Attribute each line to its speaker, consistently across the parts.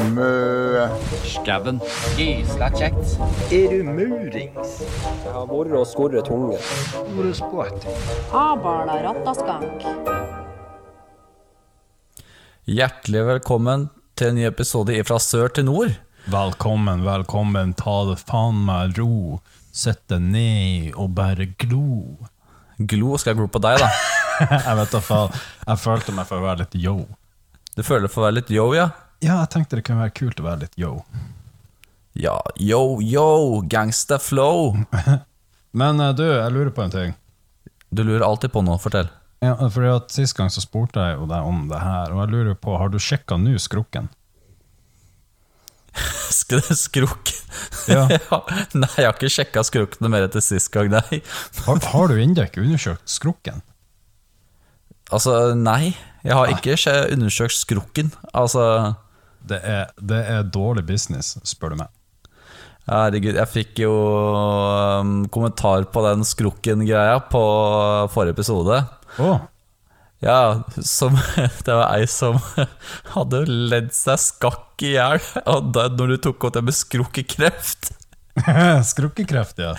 Speaker 1: Mø...
Speaker 2: Skauen.
Speaker 3: Gysla kjekt.
Speaker 4: Er du murings?
Speaker 5: Jeg har vært og skorret tunge.
Speaker 6: Hjertelig velkommen til en ny episode i Fra sør til nord.
Speaker 7: Velkommen, velkommen, ta det faen meg ro. Sett deg ned og bare glo.
Speaker 6: Glo skal jeg glo på deg, da.
Speaker 7: Jeg vet da faen, jeg følte meg for å være litt yo.
Speaker 6: Du føler for å være litt yo, ja?
Speaker 7: Ja, jeg tenkte det kunne være kult å være litt yo.
Speaker 6: Ja, yo, yo, gangsta flow.
Speaker 7: Men eh, du, jeg lurer på en ting.
Speaker 6: Du lurer alltid på noe, fortell.
Speaker 7: Ja, fordi at Sist gang så spurte jeg jo deg om det her, og jeg lurer på, har du sjekka nå skrukken?
Speaker 6: Sk skrukk.
Speaker 7: Ja.
Speaker 6: Nei, jeg har ikke sjekka skrukkene mer etter sist gang, nei.
Speaker 7: Har, har du ennå ikke undersøkt skrukken?
Speaker 6: Altså, nei. Jeg har ikke sje- undersøkt skrukken. Altså,
Speaker 7: Det er, det er dårlig business, spør du meg.
Speaker 6: herregud, jeg fikk jo um, kommentar på den skrukken-greia på forrige episode.
Speaker 7: Å,
Speaker 6: Ja, som, det var ei som hadde ledd seg skakk i hjel av deg når du tok opp det med skrukkekreft.
Speaker 7: Skrukkekreft, ja.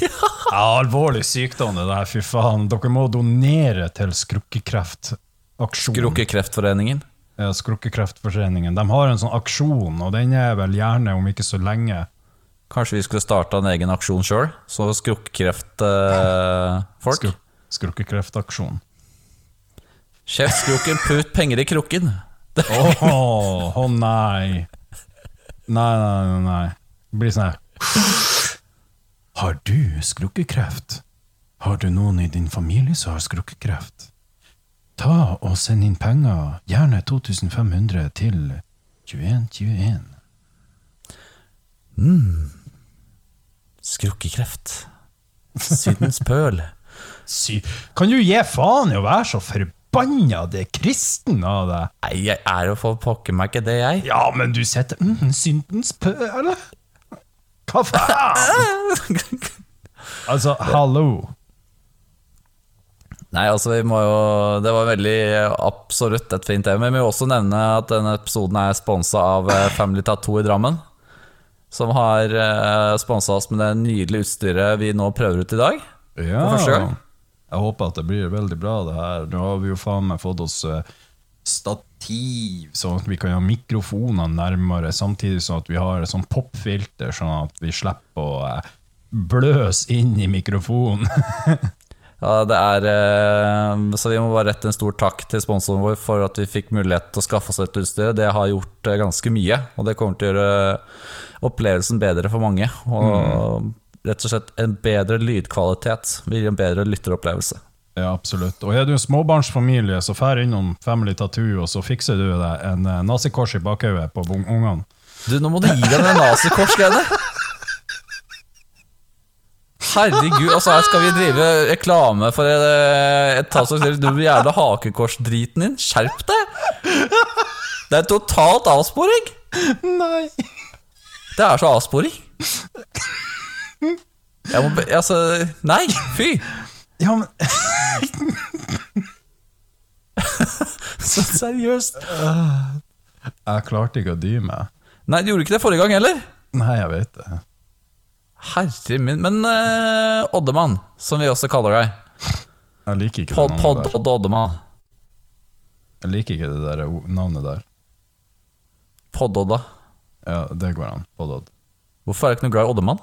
Speaker 7: ja. Alvorlig sykdom, det der, fy faen. Dere må donere til Skrukkekreftaksjonen.
Speaker 6: Krukkekreftforeningen.
Speaker 7: Ja, Skrukkekreftforeningen. De har en sånn aksjon, og den er vel gjerne om ikke så lenge.
Speaker 6: Kanskje vi skulle starta en egen aksjon sjøl? Så eh, skrukkekreftfolk.
Speaker 7: Skru Skrukkekreftaksjon.
Speaker 6: Sjef skrukken, put penger i krukken. Det,
Speaker 7: Å nei. Nei, nei, nei. nei. Det blir sånn her Har du skrukkekreft? Har du noen i din familie som har skrukkekreft? Ta og send inn penger, gjerne 2500 til 2121.
Speaker 6: Skrukkekreft. Sydens pøl.
Speaker 7: Sy kan du gi faen i å være så forbanna det er kristen av deg?
Speaker 6: Nei, jeg er jo for pokker meg ikke det, jeg.
Speaker 7: Ja, men du sitter mm, syndens pøl, eller? Hva faen? Altså, hallo.
Speaker 6: Nei, altså vi må jo Det var veldig eh, absolutt et fint tema. Men vi må også nevne at denne episoden er sponsa av eh, Family Tattoo i Drammen. Som har eh, sponsa oss med det nydelige utstyret vi nå prøver ut i dag.
Speaker 7: Ja.
Speaker 6: For første gang.
Speaker 7: Jeg håper at det blir veldig bra, det her. Nå har vi jo faen meg fått oss eh, stativ, sånn at vi kan ha mikrofonene nærmere, samtidig sånn at vi har et sånt popfilter, sånn at vi slipper å eh, bløse inn i mikrofonen.
Speaker 6: Ja, det er, eh, så vi må bare rette en stor takk til sponsoren vår for at vi fikk mulighet til å skaffe oss dette utstyret. Det har gjort eh, ganske mye, og det kommer til å gjøre opplevelsen bedre for mange. Og rett og slett en bedre lydkvalitet vil gi en bedre lytteropplevelse.
Speaker 7: ja, absolutt. Og er du en småbarnsfamilie, så fær innom Family Tattoo, og så fikser du deg en eh, nazikors i bakhodet på bung- ungene.
Speaker 6: Du, nå må du gi deg den nazikorsgreiene. Herregud, altså her skal vi drive reklame for et, et tatt som sier Du jævla hakekorsdriten din, skjerp deg! Det er totalt avsporing!
Speaker 7: Nei!
Speaker 6: Det er så avsporing. Jeg må be... Altså, nei, fy!
Speaker 7: Ja, men
Speaker 6: Så seriøst.
Speaker 7: Jeg klarte ikke å dy meg.
Speaker 6: Nei, du gjorde ikke det forrige gang heller.
Speaker 7: Nei, jeg vet det.
Speaker 6: Herre min Men eh, Oddemann, som vi også kaller deg.
Speaker 7: Jeg liker ikke
Speaker 6: Pod,
Speaker 7: det
Speaker 6: pod,
Speaker 7: navnet der.
Speaker 6: Odd Oddemann.
Speaker 7: Jeg liker ikke det der o- navnet der.
Speaker 6: Pod-Odda.
Speaker 7: Ja, det går an. Poddod.
Speaker 6: Hvorfor er du ikke noe glad i Oddemann?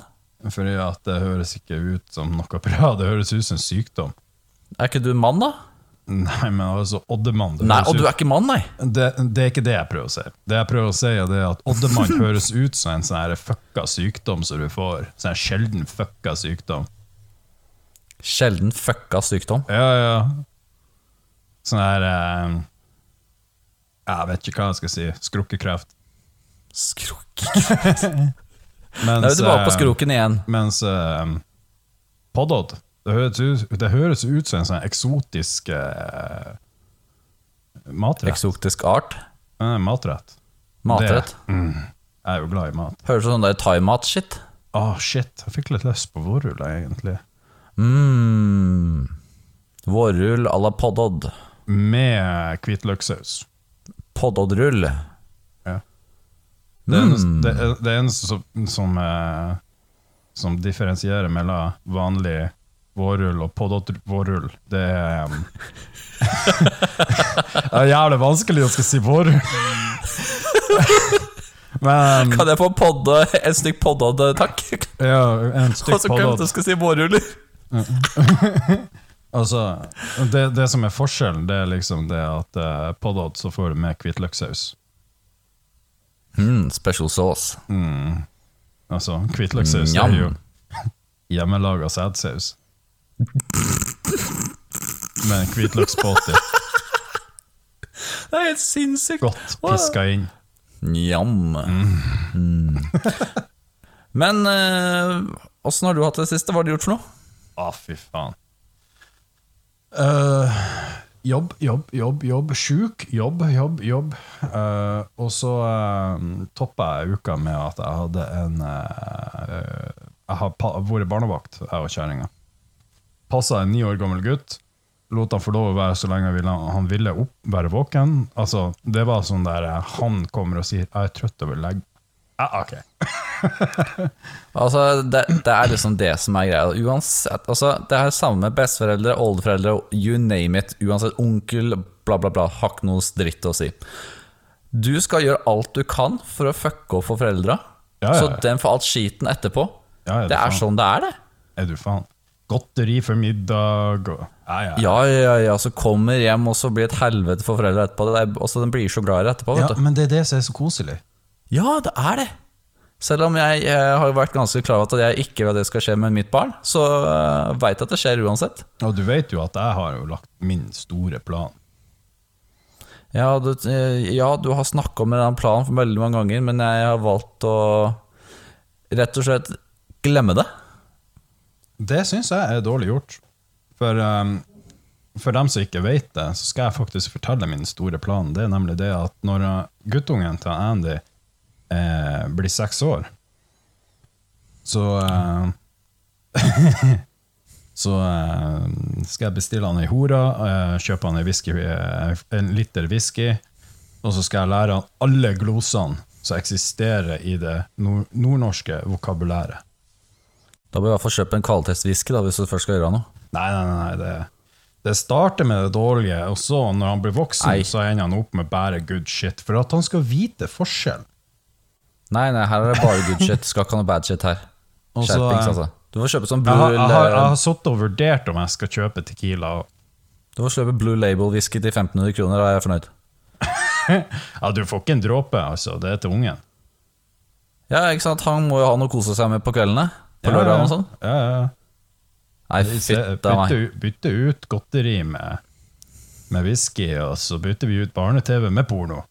Speaker 7: Fordi at det høres ikke ut som noe bra. Det høres ut som en sykdom.
Speaker 6: Er ikke du mann, da?
Speaker 7: Nei, men altså, Oddemann det
Speaker 6: Nei,
Speaker 7: høres
Speaker 6: og du
Speaker 7: ut-
Speaker 6: er ikke mann, nei.
Speaker 7: det, det er ikke det jeg prøver å si. Det jeg prøver å si er det at Oddemann høres ut som en sånn her fucka sykdom som du får. Sånn en sjelden fucka sykdom.
Speaker 6: Sjelden fucka sykdom.
Speaker 7: Ja, ja. Sånn her eh, Jeg vet ikke hva jeg skal si. Skrukkekreft.
Speaker 6: Skrok.
Speaker 7: Mens,
Speaker 6: Da er vi tilbake på
Speaker 7: eh,
Speaker 6: skroken igjen.
Speaker 7: Mens eh, Poddod det høres, ut, det høres ut som en sånn eksotisk eh, matrett.
Speaker 6: Eksotisk art.
Speaker 7: Nei, matrett.
Speaker 6: Matrett.
Speaker 7: Jeg er jo glad i mat.
Speaker 6: Høres ut som sånn der thaimat-shit.
Speaker 7: Å, shit. Jeg fikk litt lyst på vårruller, egentlig.
Speaker 6: Mm. Vårrull à la poddod.
Speaker 7: Med hvitløksaus.
Speaker 6: Poddodrull.
Speaker 7: Ja. Det, eneste, det, er- det eneste som, som, eh, som differensierer mellom vanlig vårrull og pådått vårrull, det er em, Det er jævlig vanskelig å skal si vårrull. Men
Speaker 6: Kan jeg få eh, podde, et stykk podda, takk?
Speaker 7: ja, en
Speaker 6: Og så
Speaker 7: stykk
Speaker 6: glemte jeg
Speaker 7: pådått
Speaker 6: å skulle si vårruller.
Speaker 7: altså, det, det som er forskjellen, det er liksom det at eh, pådått så får du med hvitløkssaus.
Speaker 6: Mm, special sauce.
Speaker 7: Altså, hvitløkssaus
Speaker 6: Njam.
Speaker 7: er jo hjemmelaga sædsaus. Med en hvitløksbåter.
Speaker 6: Det er helt sinnssykt.
Speaker 7: Godt piska inn.
Speaker 6: Njam. Mm. Men eh, åssen har du hatt det siste? Hva har du gjort for noe?
Speaker 7: Å, fy faen. Eh, jobb, jobb, jobb, jobb. Sjuk. Jobb, jobb, jobb. Eh, og så uh, toppa jeg uka med at jeg hadde en eh, Jeg har pa vært barnevakt, jeg og kjerringa. Passa en ni år gammel gutt. Lot han få lov å være så lenge han ville, han ville opp, være våken. Altså, det var sånn der eh, Han kommer og sier 'jeg er trøtt over legg'. Ah, ok.
Speaker 6: Altså, det, det er liksom det som er greia. Uansett, altså, det er samme med besteforeldre, oldeforeldre, you name it. Uansett onkel, bla, bla, bla. Har ikke noe dritt å si. Du skal gjøre alt du kan for å fucke opp for foreldra,
Speaker 7: Ja, ja,
Speaker 6: så
Speaker 7: ja.
Speaker 6: den får alt skiten etterpå.
Speaker 7: Ja, ja, det
Speaker 6: det
Speaker 7: er
Speaker 6: er sånn det er, det.
Speaker 7: Er du faen? Godteri for middag og Ja, ja.
Speaker 6: Ja, ja, ja, så kommer hjem, og så blir det et helvete for foreldre etterpå. Det er, også den blir så glad i det etterpå,
Speaker 7: Ja,
Speaker 6: vet du.
Speaker 7: men det er det som er så koselig.
Speaker 6: Ja, det er det. Selv om jeg, eh, har vært ganske klar over at jeg ikke vil at det skal skje med mitt barn, så uh, veit jeg at det skjer uansett.
Speaker 7: Og du vet jo at jeg har jo lagt min store plan.
Speaker 6: Ja, du, eh, ja, du har snakka om den planen for veldig mange ganger, men jeg har valgt å rett og slett glemme det.
Speaker 7: Det syns jeg er dårlig gjort. For, um, for dem som ikke vet det, så skal jeg faktisk fortelle min store plan. Det er nemlig det at når uh, guttungen til Andy eh, blir seks år, så eh, Så eh, skal jeg bestille han ei hore, eh, kjøpe han ei whisky, eh, en liter whisky, og så skal jeg lære han alle glosene som eksisterer i det nord nordnorske vokabulæret.
Speaker 6: Da bør jeg i hvert fall kjøpe en kvalitetswhisky, da, hvis du først skal gjøre noe.
Speaker 7: Nei, nei, nei. Det, det starter med det dårlige, og så, når han blir voksen,
Speaker 6: Nei.
Speaker 7: så ender han opp med bare good shit. For at han skal vite forskjell.
Speaker 6: Nei, nei, her er det bare good shit. Skal ikke ha noe bad shit her.
Speaker 7: Og så,
Speaker 6: Skjerpings,
Speaker 7: eh,
Speaker 6: altså. Du får kjøpe sånn
Speaker 7: Jeg har,
Speaker 6: Blue,
Speaker 7: jeg har, jeg
Speaker 6: eh,
Speaker 7: har sittet og vurdert om jeg skal kjøpe Tequila. og-
Speaker 6: Du får kjøpe Blue Label whisky til 1500 kroner, da er jeg fornøyd.
Speaker 7: Ja, du får ikke en dråpe, altså. Det er til ungen.
Speaker 6: Ja, ikke sant? Han må jo ha noe å kose seg med på kveldene. På
Speaker 7: Ja,
Speaker 6: lørdagen og
Speaker 7: ja,
Speaker 6: sånn.
Speaker 7: Ja, ja, ja.
Speaker 6: Nei,
Speaker 7: Se-
Speaker 6: fytta
Speaker 7: Bytte,
Speaker 6: meg.
Speaker 7: ut- bytte ut godteri med, med whisky, og så bytter vi ut barne-TV med porno.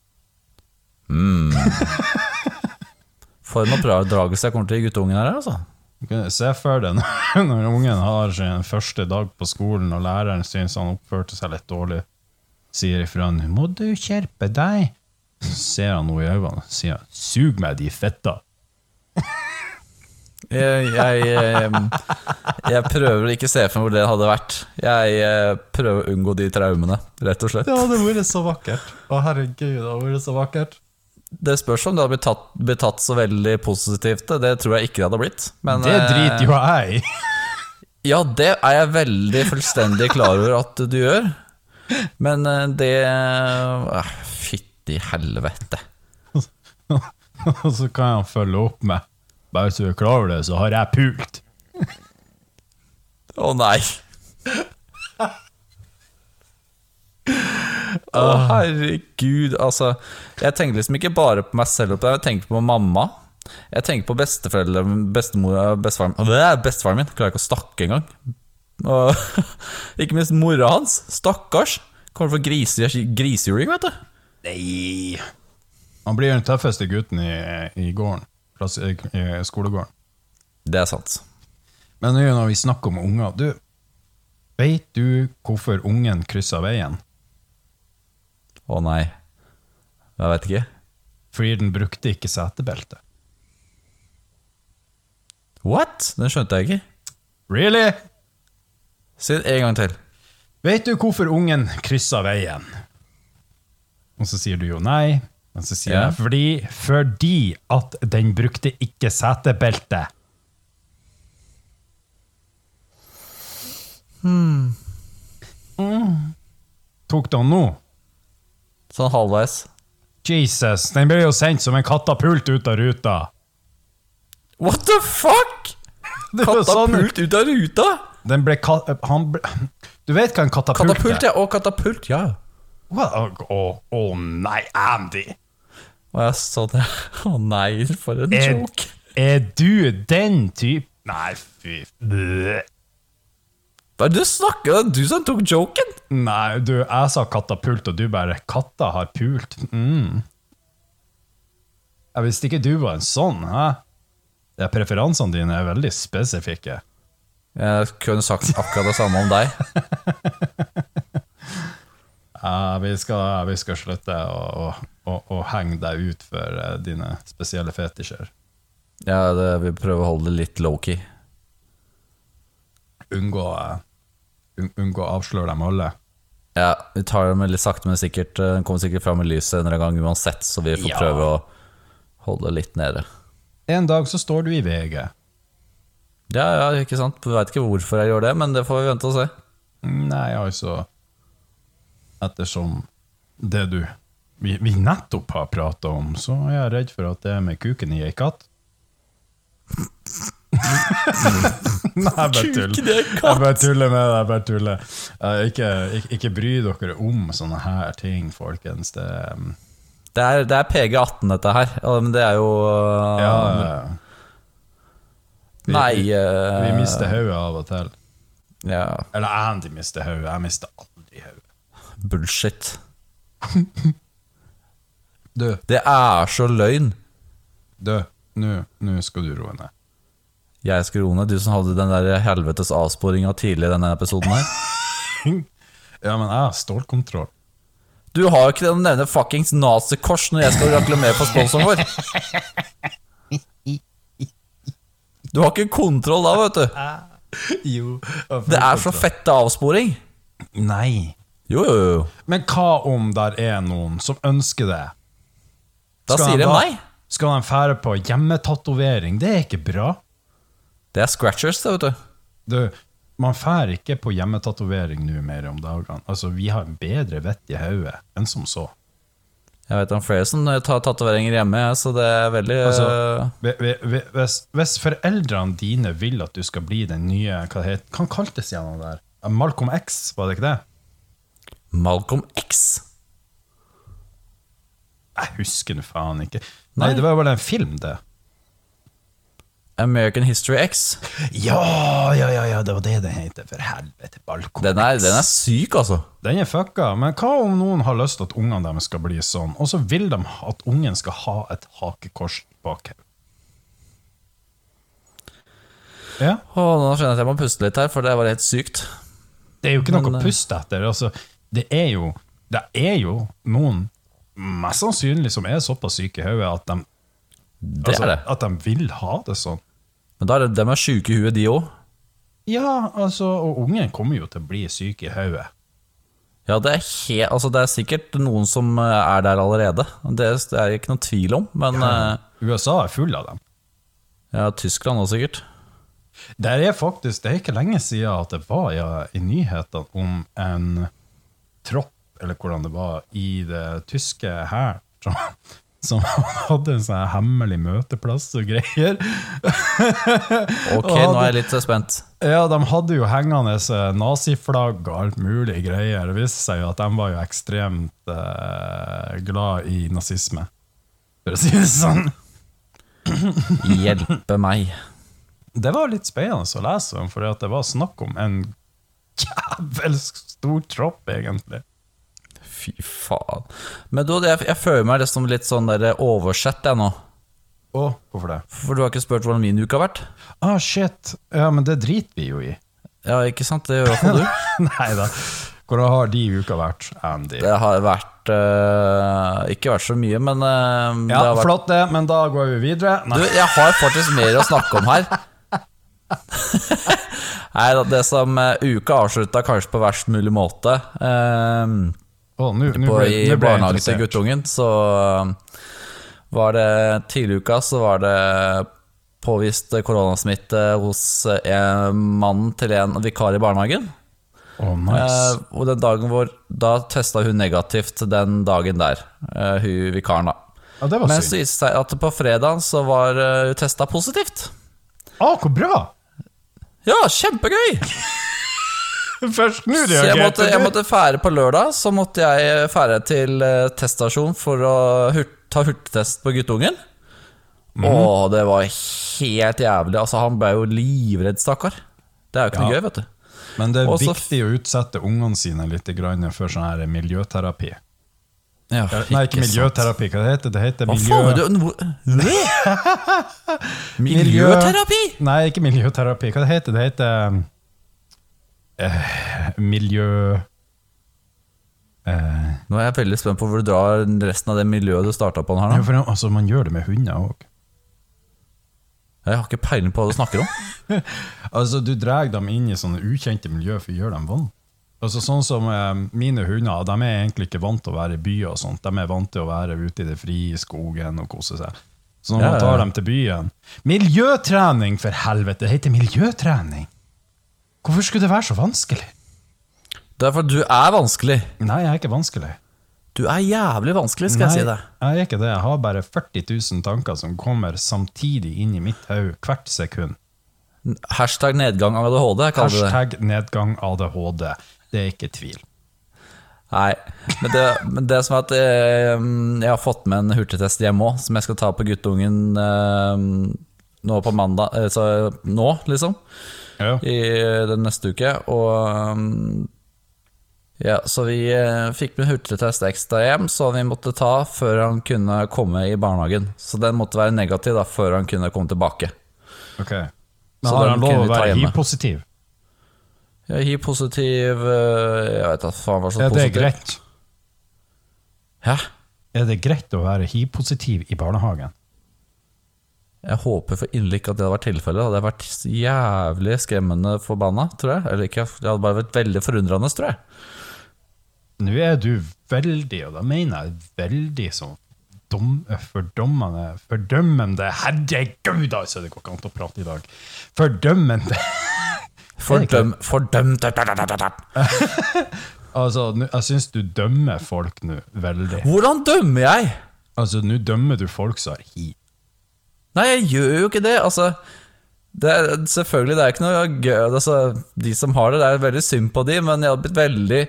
Speaker 6: For en oppdragelse jeg kommer til å gi guttungen her, altså.
Speaker 7: Du kan Se for deg når, når ungen har sin første dag på skolen, og læreren syns han oppførte seg litt dårlig. Sier ifra han 'må du skjerpe deg'. Så ser han henne i øynene og sier han, 'sug meg, de fetta'.
Speaker 6: Jeg, jeg, jeg,
Speaker 7: eh,
Speaker 6: jeg prøver å ikke se for meg hvor det hadde vært. Jeg eh, prøver å unngå de traumene, rett og slett.
Speaker 7: hadde vært så vakkert. Å, herregud, det hadde vært så vakkert.
Speaker 6: Det spørs om det hadde blitt tatt, blitt tatt så veldig positivt. det. Det tror jeg ikke det hadde blitt. Men,
Speaker 7: Det
Speaker 6: eh,
Speaker 7: driter jo jeg i.
Speaker 6: Ja, det er jeg veldig fullstendig klar over at du gjør. Men eh, det eh, Fytti helvete.
Speaker 7: Og så kan han følge opp med 'bare så du er klar over det, så har jeg pult'.
Speaker 6: Å nei. Å, herregud. Altså, jeg tenker liksom ikke bare på meg selv, oppi der, jeg tenker på mamma. Jeg tenker på besteforeldre, bestemor bestefaren Åh, Det er bestefaren min. Klarer ikke å snakke engang. Og, ikke minst mora hans. Stakkars. Kommer fra grise, grisejuling, vet du.
Speaker 7: Nei. Han blir den tøffeste gutten i, i gården. Plass, i, i skolegården.
Speaker 6: Det er sant.
Speaker 7: Men nå når vi snakker om unger du, Vet du hvorfor ungen krysser veien?
Speaker 6: Å nei. Jeg veit ikke.
Speaker 7: Fordi den brukte ikke setebelte.
Speaker 6: What? Den skjønte jeg ikke.
Speaker 7: Really?
Speaker 6: Si det en gang til.
Speaker 7: Vet du hvorfor ungen krysser veien? Og så sier du jo nei. Men så sier
Speaker 6: Ja.
Speaker 7: jeg fordi, fordi at den brukte ikke setebelte.
Speaker 6: Hmm.
Speaker 7: Tok den nå?
Speaker 6: Sånn halvveis.
Speaker 7: Jesus, den ble jo sendt som en katapult ut av ruta.
Speaker 6: What the fuck?!
Speaker 7: Det var sånn-
Speaker 6: Katapult ut av ruta!
Speaker 7: Den ble ka eh, han ble Du vet hva en katapult,
Speaker 6: Katapult, ja. Å, katapult, ja.
Speaker 7: er? Hva- Å å, nei, Andy!
Speaker 6: Og jeg så det. Å nei, for en
Speaker 7: Er,
Speaker 6: joke.
Speaker 7: er du den type Nei, fy Bleh.
Speaker 6: Hva er det du snakker om? Det er Du som tok joken!
Speaker 7: Nei, du, jeg sa katapult, og du bare Katta har pult. Mm. Jeg visste ikke du var en sånn, hæ? De preferansene dine er veldig spesifikke.
Speaker 6: Jeg kunne sagt akkurat det samme om deg.
Speaker 7: Ja, vi, skal, vi skal slutte å, å, å, å henge deg ut for eh, dine spesielle fetisjer.
Speaker 6: Ja, det, Vi prøver å holde det litt low-key.
Speaker 7: Unngå, eh, un, unngå å avsløre dem alle.
Speaker 6: Ja, Vi tar det med litt sakte, men sikkert. Den kommer sikkert fram i lyset en eller annen gang uansett, så vi får
Speaker 7: Ja.
Speaker 6: prøve å holde det litt nede.
Speaker 7: En dag så står du i VG.
Speaker 6: Ja, ja, ikke sant? Vi veit ikke hvorfor jeg gjør det, men det får vi vente og se.
Speaker 7: Nei, altså Ettersom det du vi, vi nettopp har prata om, så er jeg redd for at det med kuken i ei katt Nei, jeg bare tuller.
Speaker 6: i ei
Speaker 7: Jeg bare tuller med deg. jeg bare tuller. Eh, Ikke, ikke, ikke bry dere om sånne her ting, folkens. Det, eh,
Speaker 6: Det er, det er PG-18, dette her. Ja, Men det er jo øh,
Speaker 7: ja, vi-
Speaker 6: Nei
Speaker 7: vi-
Speaker 6: øh,
Speaker 7: vi mister hodet av og til.
Speaker 6: Ja,
Speaker 7: Eller Andy mister hodet. Jeg mister aldri hodet.
Speaker 6: bullshit.
Speaker 7: Du,
Speaker 6: Det er så løgn.
Speaker 7: du, nå- nå skal du roe ned.
Speaker 6: Jeg skulle roe ned, du som hadde den der helvetes avsporinga tidlig i denne episoden her.
Speaker 7: Ja, men jeg har stålkontroll.
Speaker 6: Du har jo ikke den nevne fuckings nazikors når jeg skal reklamere for sponsoren vår. Du har ikke kontroll da, vet du.
Speaker 7: Jo.
Speaker 6: Det er så fette avsporing.
Speaker 7: Nei.
Speaker 6: Jo, jo, jo.
Speaker 7: Men hva om der er noen som ønsker det?
Speaker 6: Da
Speaker 7: Skal
Speaker 6: sier
Speaker 7: de
Speaker 6: de
Speaker 7: da-
Speaker 6: nei.
Speaker 7: Skal de fære på hjemmetatovering? Det er ikke bra.
Speaker 6: Det er scratchers, det, vet du.
Speaker 7: Du, man fær ikke på hjemmetatovering nå mer om dagene. Altså, vi har en bedre vett i hodet enn som så.
Speaker 6: Jeg vet om flere som eh, tar tatoveringer hjemme, jeg, så det er veldig eh,
Speaker 7: Altså- Hvi- hvi- hvi- Hvis, hvis foreldrene dine vil at du skal bli den nye Hva det heter Hva kaltes det igjen det der? Malcolm X, var det ikke det?
Speaker 6: øh, Malcolm X.
Speaker 7: Jeg husker nå faen ikke. Nei,
Speaker 6: Nei.
Speaker 7: det var vel en film, det.
Speaker 6: American History X.
Speaker 7: Ja, ja, ja, ja, det var det den heter. For helvete, balkong.
Speaker 6: Den er, den er syk, altså.
Speaker 7: Den er fucka, men hva om noen har lyst til at ungene deres skal bli sånn, og så vil de at ungen skal ha et hakekors bak hodet? Ja,
Speaker 6: Åh, nå skjønner jeg at jeg må puste litt her, for det var helt sykt.
Speaker 7: det er jo ikke noe
Speaker 6: Men,
Speaker 7: å
Speaker 6: eh,
Speaker 7: puste etter. Altså, det er jo Det er jo noen, mest sannsynlig, som er såpass syke i hodet at, de-
Speaker 6: Det
Speaker 7: altså,
Speaker 6: er det.
Speaker 7: at de vil ha det sånn.
Speaker 6: Men da er det, de er syke i huet, de òg.
Speaker 7: Ja, altså, og ungen kommer jo til å bli syk i hodet.
Speaker 6: Ja, det er, he, altså, det er sikkert noen som eh, er der allerede. Det det er ikke noen tvil om. Men eh,
Speaker 7: USA er full av dem.
Speaker 6: ja, Tyskland òg, sikkert.
Speaker 7: Der er faktisk, det er ikke lenge siden at det var ja, i nyhetene om en tropp, eller hvordan det var, i det tyske her, som, som hadde en sånn her hemmelig møteplass og greier.
Speaker 6: Ok,
Speaker 7: Ja,
Speaker 6: nå er jeg litt eh, spent.
Speaker 7: Ja, de hadde jo hengende eh, naziflagg og alt mulig greier. Det viste seg jo at de var jo ekstremt eh, glad i nazisme, for å si det sånn.
Speaker 6: Hjelpe meg.
Speaker 7: Det var litt spennende å lese om, for det var snakk om en jævelsk stor tropp, egentlig.
Speaker 6: Fy faen. Men du, jeg, jeg føler meg liksom litt sånn der oversett, jeg nå.
Speaker 7: Å, hvorfor det?
Speaker 6: For du har ikke spurt hvordan min uke har vært?
Speaker 7: Ah, shit. Ja, men det driter vi jo i.
Speaker 6: Ja, ikke sant? Det gjør i hvert fall du.
Speaker 7: Nei da. Hvordan har de uka vært, Andy?
Speaker 6: Det har vært eh, Ikke vært så mye, men eh,
Speaker 7: ja,
Speaker 6: det har vært
Speaker 7: flott det, men da går vi videre.
Speaker 6: Du,
Speaker 7: Nei,
Speaker 6: jeg har faktisk mer å snakke om her. Nei da, det som eh, uka avslutta kanskje på verst mulig måte, eh,
Speaker 7: Å, nå nå
Speaker 6: på, i
Speaker 7: ble, nå ble jeg
Speaker 6: barnehagen til
Speaker 7: interessert.
Speaker 6: guttungen, så um, var det tidligere i uka så var det påvist koronasmitte hos eh, en mannen til en vikar i barnehagen.
Speaker 7: Å, nice.
Speaker 6: Eh, og den dagen hvor Da testa hun negativt den dagen der, eh, hun vikaren, da.
Speaker 7: Ja, det var
Speaker 6: Men så
Speaker 7: synd.
Speaker 6: viste det seg at på fredagen så var eh, hun testa positivt.
Speaker 7: Å, Ah, hvor bra!
Speaker 6: Ja, kjempegøy!
Speaker 7: Først nå
Speaker 6: Så jeg
Speaker 7: reagerte
Speaker 6: måtte, jeg
Speaker 7: du.
Speaker 6: måtte fære på lørdag, så måtte jeg fære til eh, teststasjon for å hurt, ta hurtigtest på guttungen.
Speaker 7: Mhm.
Speaker 6: Åh, det var helt jævlig. Altså, han ble jo livredd, stakkar. Det er jo ikke noe
Speaker 7: Ja.
Speaker 6: gøy, vet du.
Speaker 7: Men det er
Speaker 6: Og så-
Speaker 7: viktig å utsette ungene sine litt grann for sånn her miljøterapi.
Speaker 6: Ja,
Speaker 7: Nei, ikke miljøterapi, hva det heter det? heter
Speaker 6: Hva
Speaker 7: miljø...
Speaker 6: faen er det? Hvor- Miljøterapi!
Speaker 7: Nei, ikke miljøterapi, hva det heter det? heter um, eh, miljø... Eh,
Speaker 6: Nå er jeg veldig spent på hvor du drar resten av det miljøet du starta på her
Speaker 7: ja,
Speaker 6: nå.
Speaker 7: for, altså, man gjør det med hunder òg.
Speaker 6: Jeg har ikke peiling på hva du snakker om.
Speaker 7: Altså, du drar dem inn i sånne ukjente miljø for å gjøre dem vant. Altså, sånn som eh, Mine hunder de er egentlig ikke vant til å være i byer. og sånt. De er vant til å være ute i det frie, i skogen og kose seg. Så når
Speaker 6: Ja,
Speaker 7: man
Speaker 6: ja,
Speaker 7: tar
Speaker 6: ja.
Speaker 7: dem til byen Miljøtrening, for helvete! Det heter miljøtrening! Hvorfor skulle det være så vanskelig?
Speaker 6: Det er fordi du er vanskelig.
Speaker 7: Nei, jeg er ikke vanskelig.
Speaker 6: Du er jævlig vanskelig, skal jeg si deg.
Speaker 7: jeg er ikke det. Jeg har bare 40 000 tanker som kommer samtidig inn i mitt hode hvert sekund.
Speaker 6: Hashtag nedgang av ADHD, kaller du det.
Speaker 7: Hashtag nedgang ADHD. Det er ikke tvil.
Speaker 6: Nei, men det, men det som er at eh, jeg har fått med en hurtigtest hjemme òg, som jeg skal ta på guttungen eh, nå på mandag eh, Så nå, liksom.
Speaker 7: Ja.
Speaker 6: I eh, den neste uke. Og eh, Ja, så vi eh, fikk med en hurtigtest ekstra hjem, så vi måtte ta før han kunne komme i barnehagen. Så den måtte være negativ da, før han kunne komme tilbake.
Speaker 7: Ok.
Speaker 6: Så
Speaker 7: Men har
Speaker 6: da
Speaker 7: han
Speaker 6: kunne
Speaker 7: lov å
Speaker 6: vi ta
Speaker 7: være
Speaker 6: hjemme.
Speaker 7: hiv-positiv?
Speaker 6: Ja, Hiv-positiv eh, Jeg vet da faen hva slags
Speaker 7: Er det
Speaker 6: positiv.
Speaker 7: greit?
Speaker 6: Hæ?
Speaker 7: Er det greit å være hiv-positiv i barnehagen?
Speaker 6: Jeg håper for inderlig ikke at det hadde vært tilfellet. Det hadde vært jævlig skremmende forbanna, tror jeg. Eller ikke, det hadde bare vært veldig forundrende, tror jeg.
Speaker 7: Nå er du veldig, og da mener jeg veldig sånn dom, fordommende Fordømmende Herregud, altså! Det går ikke an å prate i dag. Fordømmende
Speaker 6: Fordøm, fordømt da, da, da, da, da.
Speaker 7: Altså, nå- jeg syns du dømmer folk nå veldig.
Speaker 6: Hvordan dømmer jeg?
Speaker 7: Altså, nå dømmer du folk som har hiv.
Speaker 6: Nei, jeg gjør jo ikke det. Altså, det er, selvfølgelig, det er ikke noe gøy altså, De som har det, det er veldig synd på de, men jeg hadde blitt veldig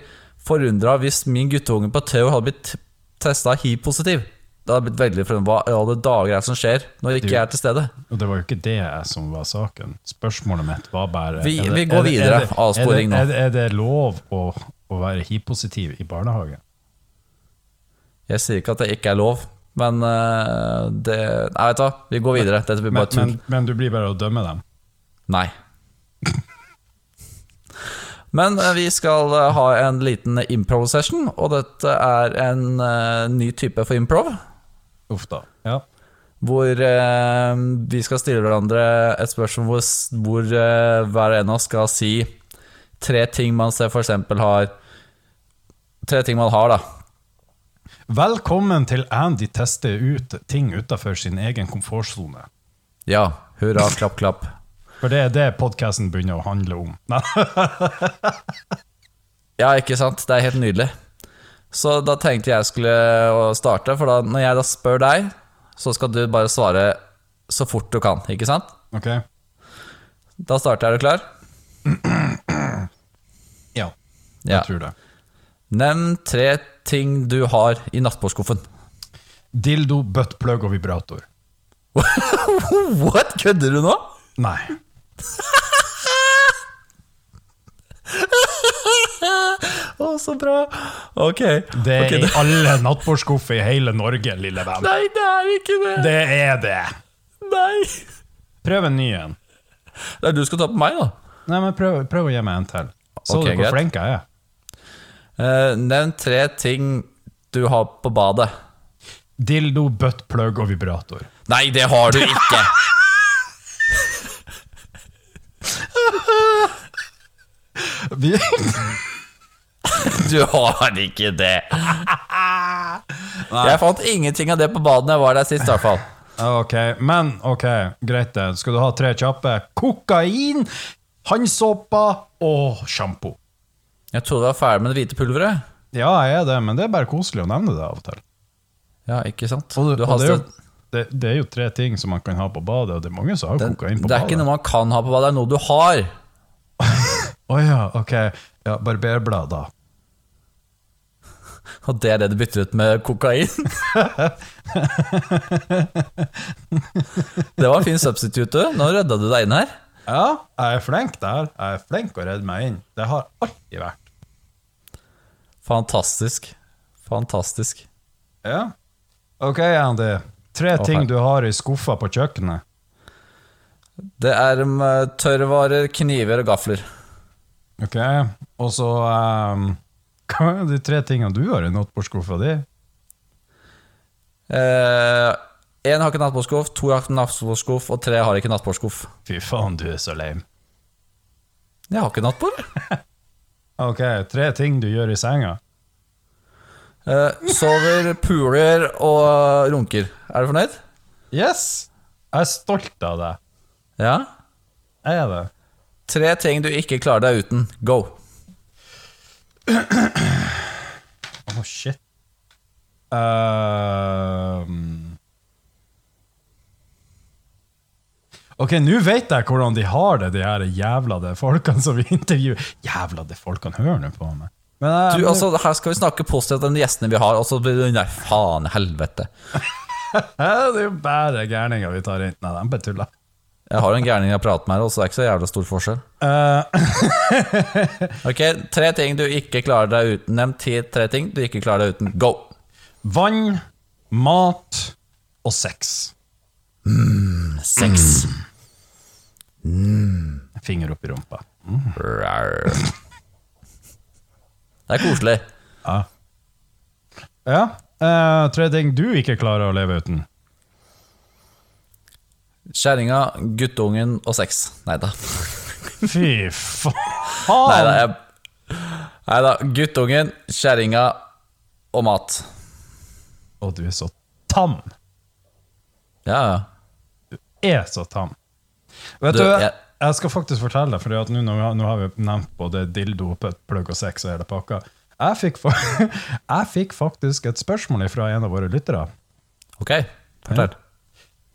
Speaker 6: forundra hvis min guttunge på Theo hadde blitt testa hiv-positiv. Det hadde blitt veldig forundra. Hva i alle dager er det som skjer når ikke jeg er til stede?
Speaker 7: Og det var jo ikke det som var saken. Spørsmålet mitt var bare
Speaker 6: Vi-
Speaker 7: er det-
Speaker 6: vi går
Speaker 7: er det-
Speaker 6: videre.
Speaker 7: er det-
Speaker 6: Avsporing nå.
Speaker 7: Er det, er det, er det lov å, å være hiv-positiv i barnehagen?
Speaker 6: Jeg sier ikke at det ikke er lov, men eh, det Nei, vet du hva, vi går videre. Dette blir
Speaker 7: Men,
Speaker 6: bare tull.
Speaker 7: men, men du blir bare å dømme dem.
Speaker 6: Nei. Men eh, vi skal eh, ha en liten improv-session, og dette er en eh, ny type for improv.
Speaker 7: Uff da. Ja.
Speaker 6: Hvor eh, vi skal stille hverandre et spørsmål hvor, s- hvor eh, hver en av oss skal si tre ting man ser for eksempel har Tre ting man har, da.
Speaker 7: Velkommen til Andy tester ut ting utafor sin egen komfortsone.
Speaker 6: Ja. Hurra, klapp, klapp.
Speaker 7: For det er det podkasten begynner å handle om. Nei,
Speaker 6: Ja, ikke sant? Det er helt nydelig. Så da tenkte jeg skulle å starte, for da, når jeg da spør deg, så skal du bare svare så fort du kan, ikke sant?
Speaker 7: ok?
Speaker 6: Da starter jeg, er du klar? Ja.
Speaker 7: Ja, jeg tror det.
Speaker 6: Nevn tre ting du har i nattbordskuffen.
Speaker 7: Dildo, buttplug og vibrator.
Speaker 6: What? Kødder du nå?
Speaker 7: Nei.
Speaker 6: Å, så bra. Ok.
Speaker 7: Det er
Speaker 6: Ok,
Speaker 7: i alle nattbordskuffer i hele Norge, lille venn.
Speaker 6: Nei, det er ikke det.
Speaker 7: Det er det.
Speaker 6: Nei.
Speaker 7: Prøv en ny en.
Speaker 6: Det er du skal ta på meg, da.
Speaker 7: Nei, men prøv, prøv å gi meg en til. Så
Speaker 6: Ok,
Speaker 7: du hvor
Speaker 6: greit.
Speaker 7: flink jeg er?
Speaker 6: Eh, nevn tre ting du har på badet.
Speaker 7: Dildo, buttplug og vibrator.
Speaker 6: Nei, det har du ikke.
Speaker 7: Vi
Speaker 6: Du har ikke det. Jeg fant ingenting av det på badet da jeg var der sist, i hvert fall.
Speaker 7: Ok, men ok, greit det. Skal du ha tre kjappe? Kokain, handsåpa og sjampo.
Speaker 6: Jeg trodde jeg var ferdig med det hvite pulveret.
Speaker 7: Ja, jeg er det, men det er bare koselig å nevne det av og til.
Speaker 6: Ja, ikke sant?
Speaker 7: Og,
Speaker 6: Du
Speaker 7: og
Speaker 6: har
Speaker 7: det, er jo,
Speaker 6: støt-
Speaker 7: det, det er jo tre ting som man kan ha på badet, og det er mange som har
Speaker 6: det,
Speaker 7: kokain på
Speaker 6: det er ikke
Speaker 7: badet.
Speaker 6: noe man kan ha på badet, det er noe du har.
Speaker 7: Å ja, ok. Ja, barberblader.
Speaker 6: Og det er det du bytter ut med kokain. det var en fin substitute. du. Nå redda du deg inn her.
Speaker 7: Ja, jeg er flink der. Jeg er flink å redde meg inn. Det har alltid vært.
Speaker 6: Fantastisk. Fantastisk.
Speaker 7: Ja. Ok, Andy. Tre
Speaker 6: Ok.
Speaker 7: ting du har i skuffa på kjøkkenet.
Speaker 6: Det er um, tørrvarer, kniver og gafler.
Speaker 7: Ok, og så ehm, Hva er de tre tingene du har i nattbordskuffa di?
Speaker 6: Én Eh, har ikke nattbordskuff, to har ikke nattbordskuff, og tre har ikke nattbordskuff.
Speaker 7: Fy faen, du er så lame.
Speaker 6: Jeg har ikke nattbord.
Speaker 7: Ok, tre ting du gjør i senga.
Speaker 6: Eh, sover, puler og runker. Er du fornøyd?
Speaker 7: Yes! Jeg er stolt av deg.
Speaker 6: Ja.
Speaker 7: Jeg er det.
Speaker 6: Tre ting du ikke klarer deg uten. Go.
Speaker 7: Åh, Oh, shit. Ehm. Ok, nå vet jeg hvordan de har det, de her jævla de folkene som vi intervjuer. Jævla de folkene hører nå på meg. Men, eh,
Speaker 6: Du,
Speaker 7: nå-
Speaker 6: altså, her skal vi snakke positivt om de gjestene vi har, og så blir det Nei, faen, helvete.
Speaker 7: eh, det er jo bare gærninger vi tar inn. Nei, de bare tuller.
Speaker 6: Jeg har en gærning jeg prater med her, og så er det ikke så jævla stor forskjell.
Speaker 7: Eh,
Speaker 6: Ok, Tre ting du ikke klarer deg uten. Nevn ti tre ting du ikke klarer deg uten. Go!
Speaker 7: vann, mat og sex.
Speaker 6: Sex.
Speaker 7: Finger opp i rumpa.
Speaker 6: Rar. Det er koselig.
Speaker 7: Ja, eh, tre ting du ikke klarer å leve uten.
Speaker 6: Kjerringa, guttungen og sex. Nei da.
Speaker 7: Fy
Speaker 6: Nei da,
Speaker 7: faen!
Speaker 6: jeg Neida, Guttungen, kjerringa og mat.
Speaker 7: Og du er så tam.
Speaker 6: Ja, ja.
Speaker 7: er så tam. Vet
Speaker 6: Du,
Speaker 7: du,
Speaker 6: jeg-
Speaker 7: jeg, skal faktisk fortelle deg, for nå, nå har- nå har vi nevnt både dildo, pet, plugg og sex og hele pakka. Jeg fikk, fa- jeg fikk faktisk et spørsmål fra en av våre lyttere,
Speaker 6: Ok, fortell.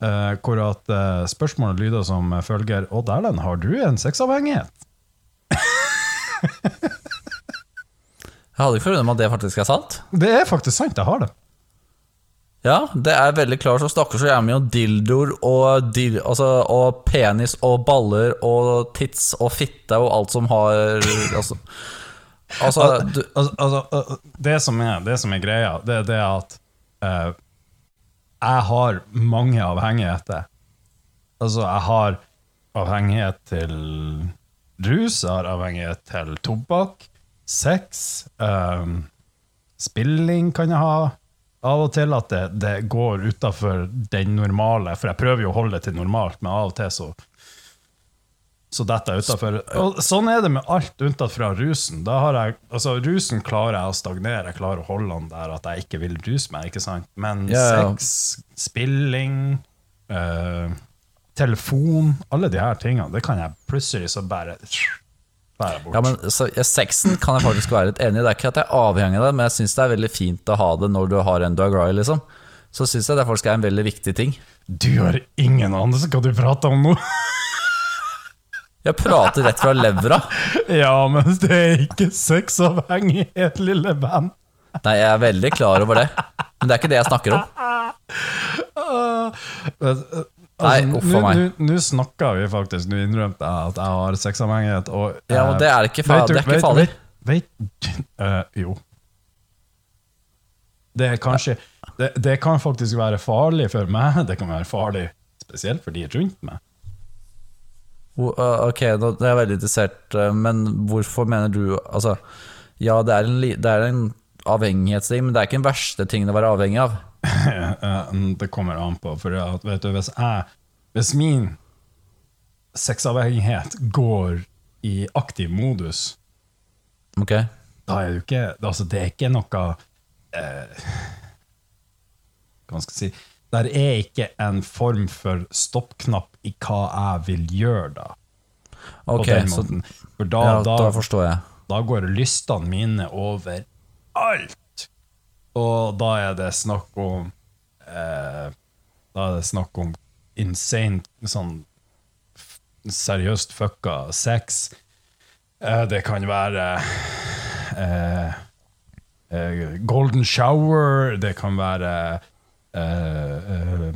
Speaker 7: eh, hvor at eh, spørsmålet lyder som følger Odd Erlend, har du en sexavhengighet?
Speaker 6: Jeg hadde ikke forundret meg at det faktisk er sant.
Speaker 7: Det er faktisk sant, jeg har det.
Speaker 6: Ja, det er veldig klart som snakker så jævlig mye om dildoer og, dil, altså, og penis og baller og tits og fitte og alt som har Altså, altså du,
Speaker 7: Altså, altså, al- det, som er, det som er greia, det er det at eh, jeg har mange avhengigheter. Altså, jeg har avhengighet til rus, jeg har avhengighet til tobakk, sex, eh, spilling kan jeg ha. Av og til at det, det går utafor den normale, for jeg prøver jo å holde det til normalt, men av og til så så detter jeg utenfor. Og sånn er det med alt unntatt fra rusen. Da har jeg, altså, rusen klarer jeg å stagnere, jeg klarer å holde den der at jeg ikke vil ruse meg. ikke sant? Men
Speaker 6: Ja, ja.
Speaker 7: sex, spilling, eh, telefon, alle de her tingene, det kan jeg plutselig så bare bære bort.
Speaker 6: Ja, men så, ja, Sexen kan jeg faktisk være litt enig i. Det er ikke at jeg er avhengig av det, men jeg syns det er veldig fint å ha det når du har en du er glad i, liksom. Så syns jeg det faktisk er en veldig viktig ting.
Speaker 7: Du har ingen anelse hva du prater om nå!
Speaker 6: Jeg prater rett fra levra.
Speaker 7: ja, men det er ikke sexavhengighet, lille venn!
Speaker 6: Nei, jeg er veldig klar over det. Men det er ikke det jeg snakker om.
Speaker 7: Altså,
Speaker 6: Nei, uff a
Speaker 7: nå-
Speaker 6: meg.
Speaker 7: nå- Nå snakka vi faktisk, nå innrømte jeg at jeg har sexavhengighet. Og,
Speaker 6: Ja, og
Speaker 7: eh,
Speaker 6: det er ikke fa-
Speaker 7: vet du-
Speaker 6: det er ikke
Speaker 7: vet-
Speaker 6: farlig.
Speaker 7: Vet, vet, eh, jo. Det er kanskje det, det kan faktisk være farlig for meg, det kan være farlig spesielt for de rundt meg.
Speaker 6: Hvor- øh, Ok, nå er jeg veldig interessert, øh, men hvorfor mener du Altså, ja, det er en, li- det er en avhengighetsting, men det er ikke den verste tingen å være avhengig av.
Speaker 7: Eh, det kommer an på. For at, vet du, hvis, jeg, hvis min sexavhengighet går i aktiv modus,
Speaker 6: Ok?
Speaker 7: da er det jo ikke Altså, det er ikke noe eh, Hva skal jeg si Der er ikke en form for stoppknapp i hva jeg vil gjøre, da. På
Speaker 6: Ok,
Speaker 7: den
Speaker 6: så
Speaker 7: måten. For da,
Speaker 6: ja,
Speaker 7: da,
Speaker 6: da forstår jeg.
Speaker 7: da går lystene mine over alt. Og da er det snakk om eh, Da er det snakk om insane, sånn f- seriøst fucka sex. Eh, det kan være eh, eh, golden shower, det kan være eh, eh,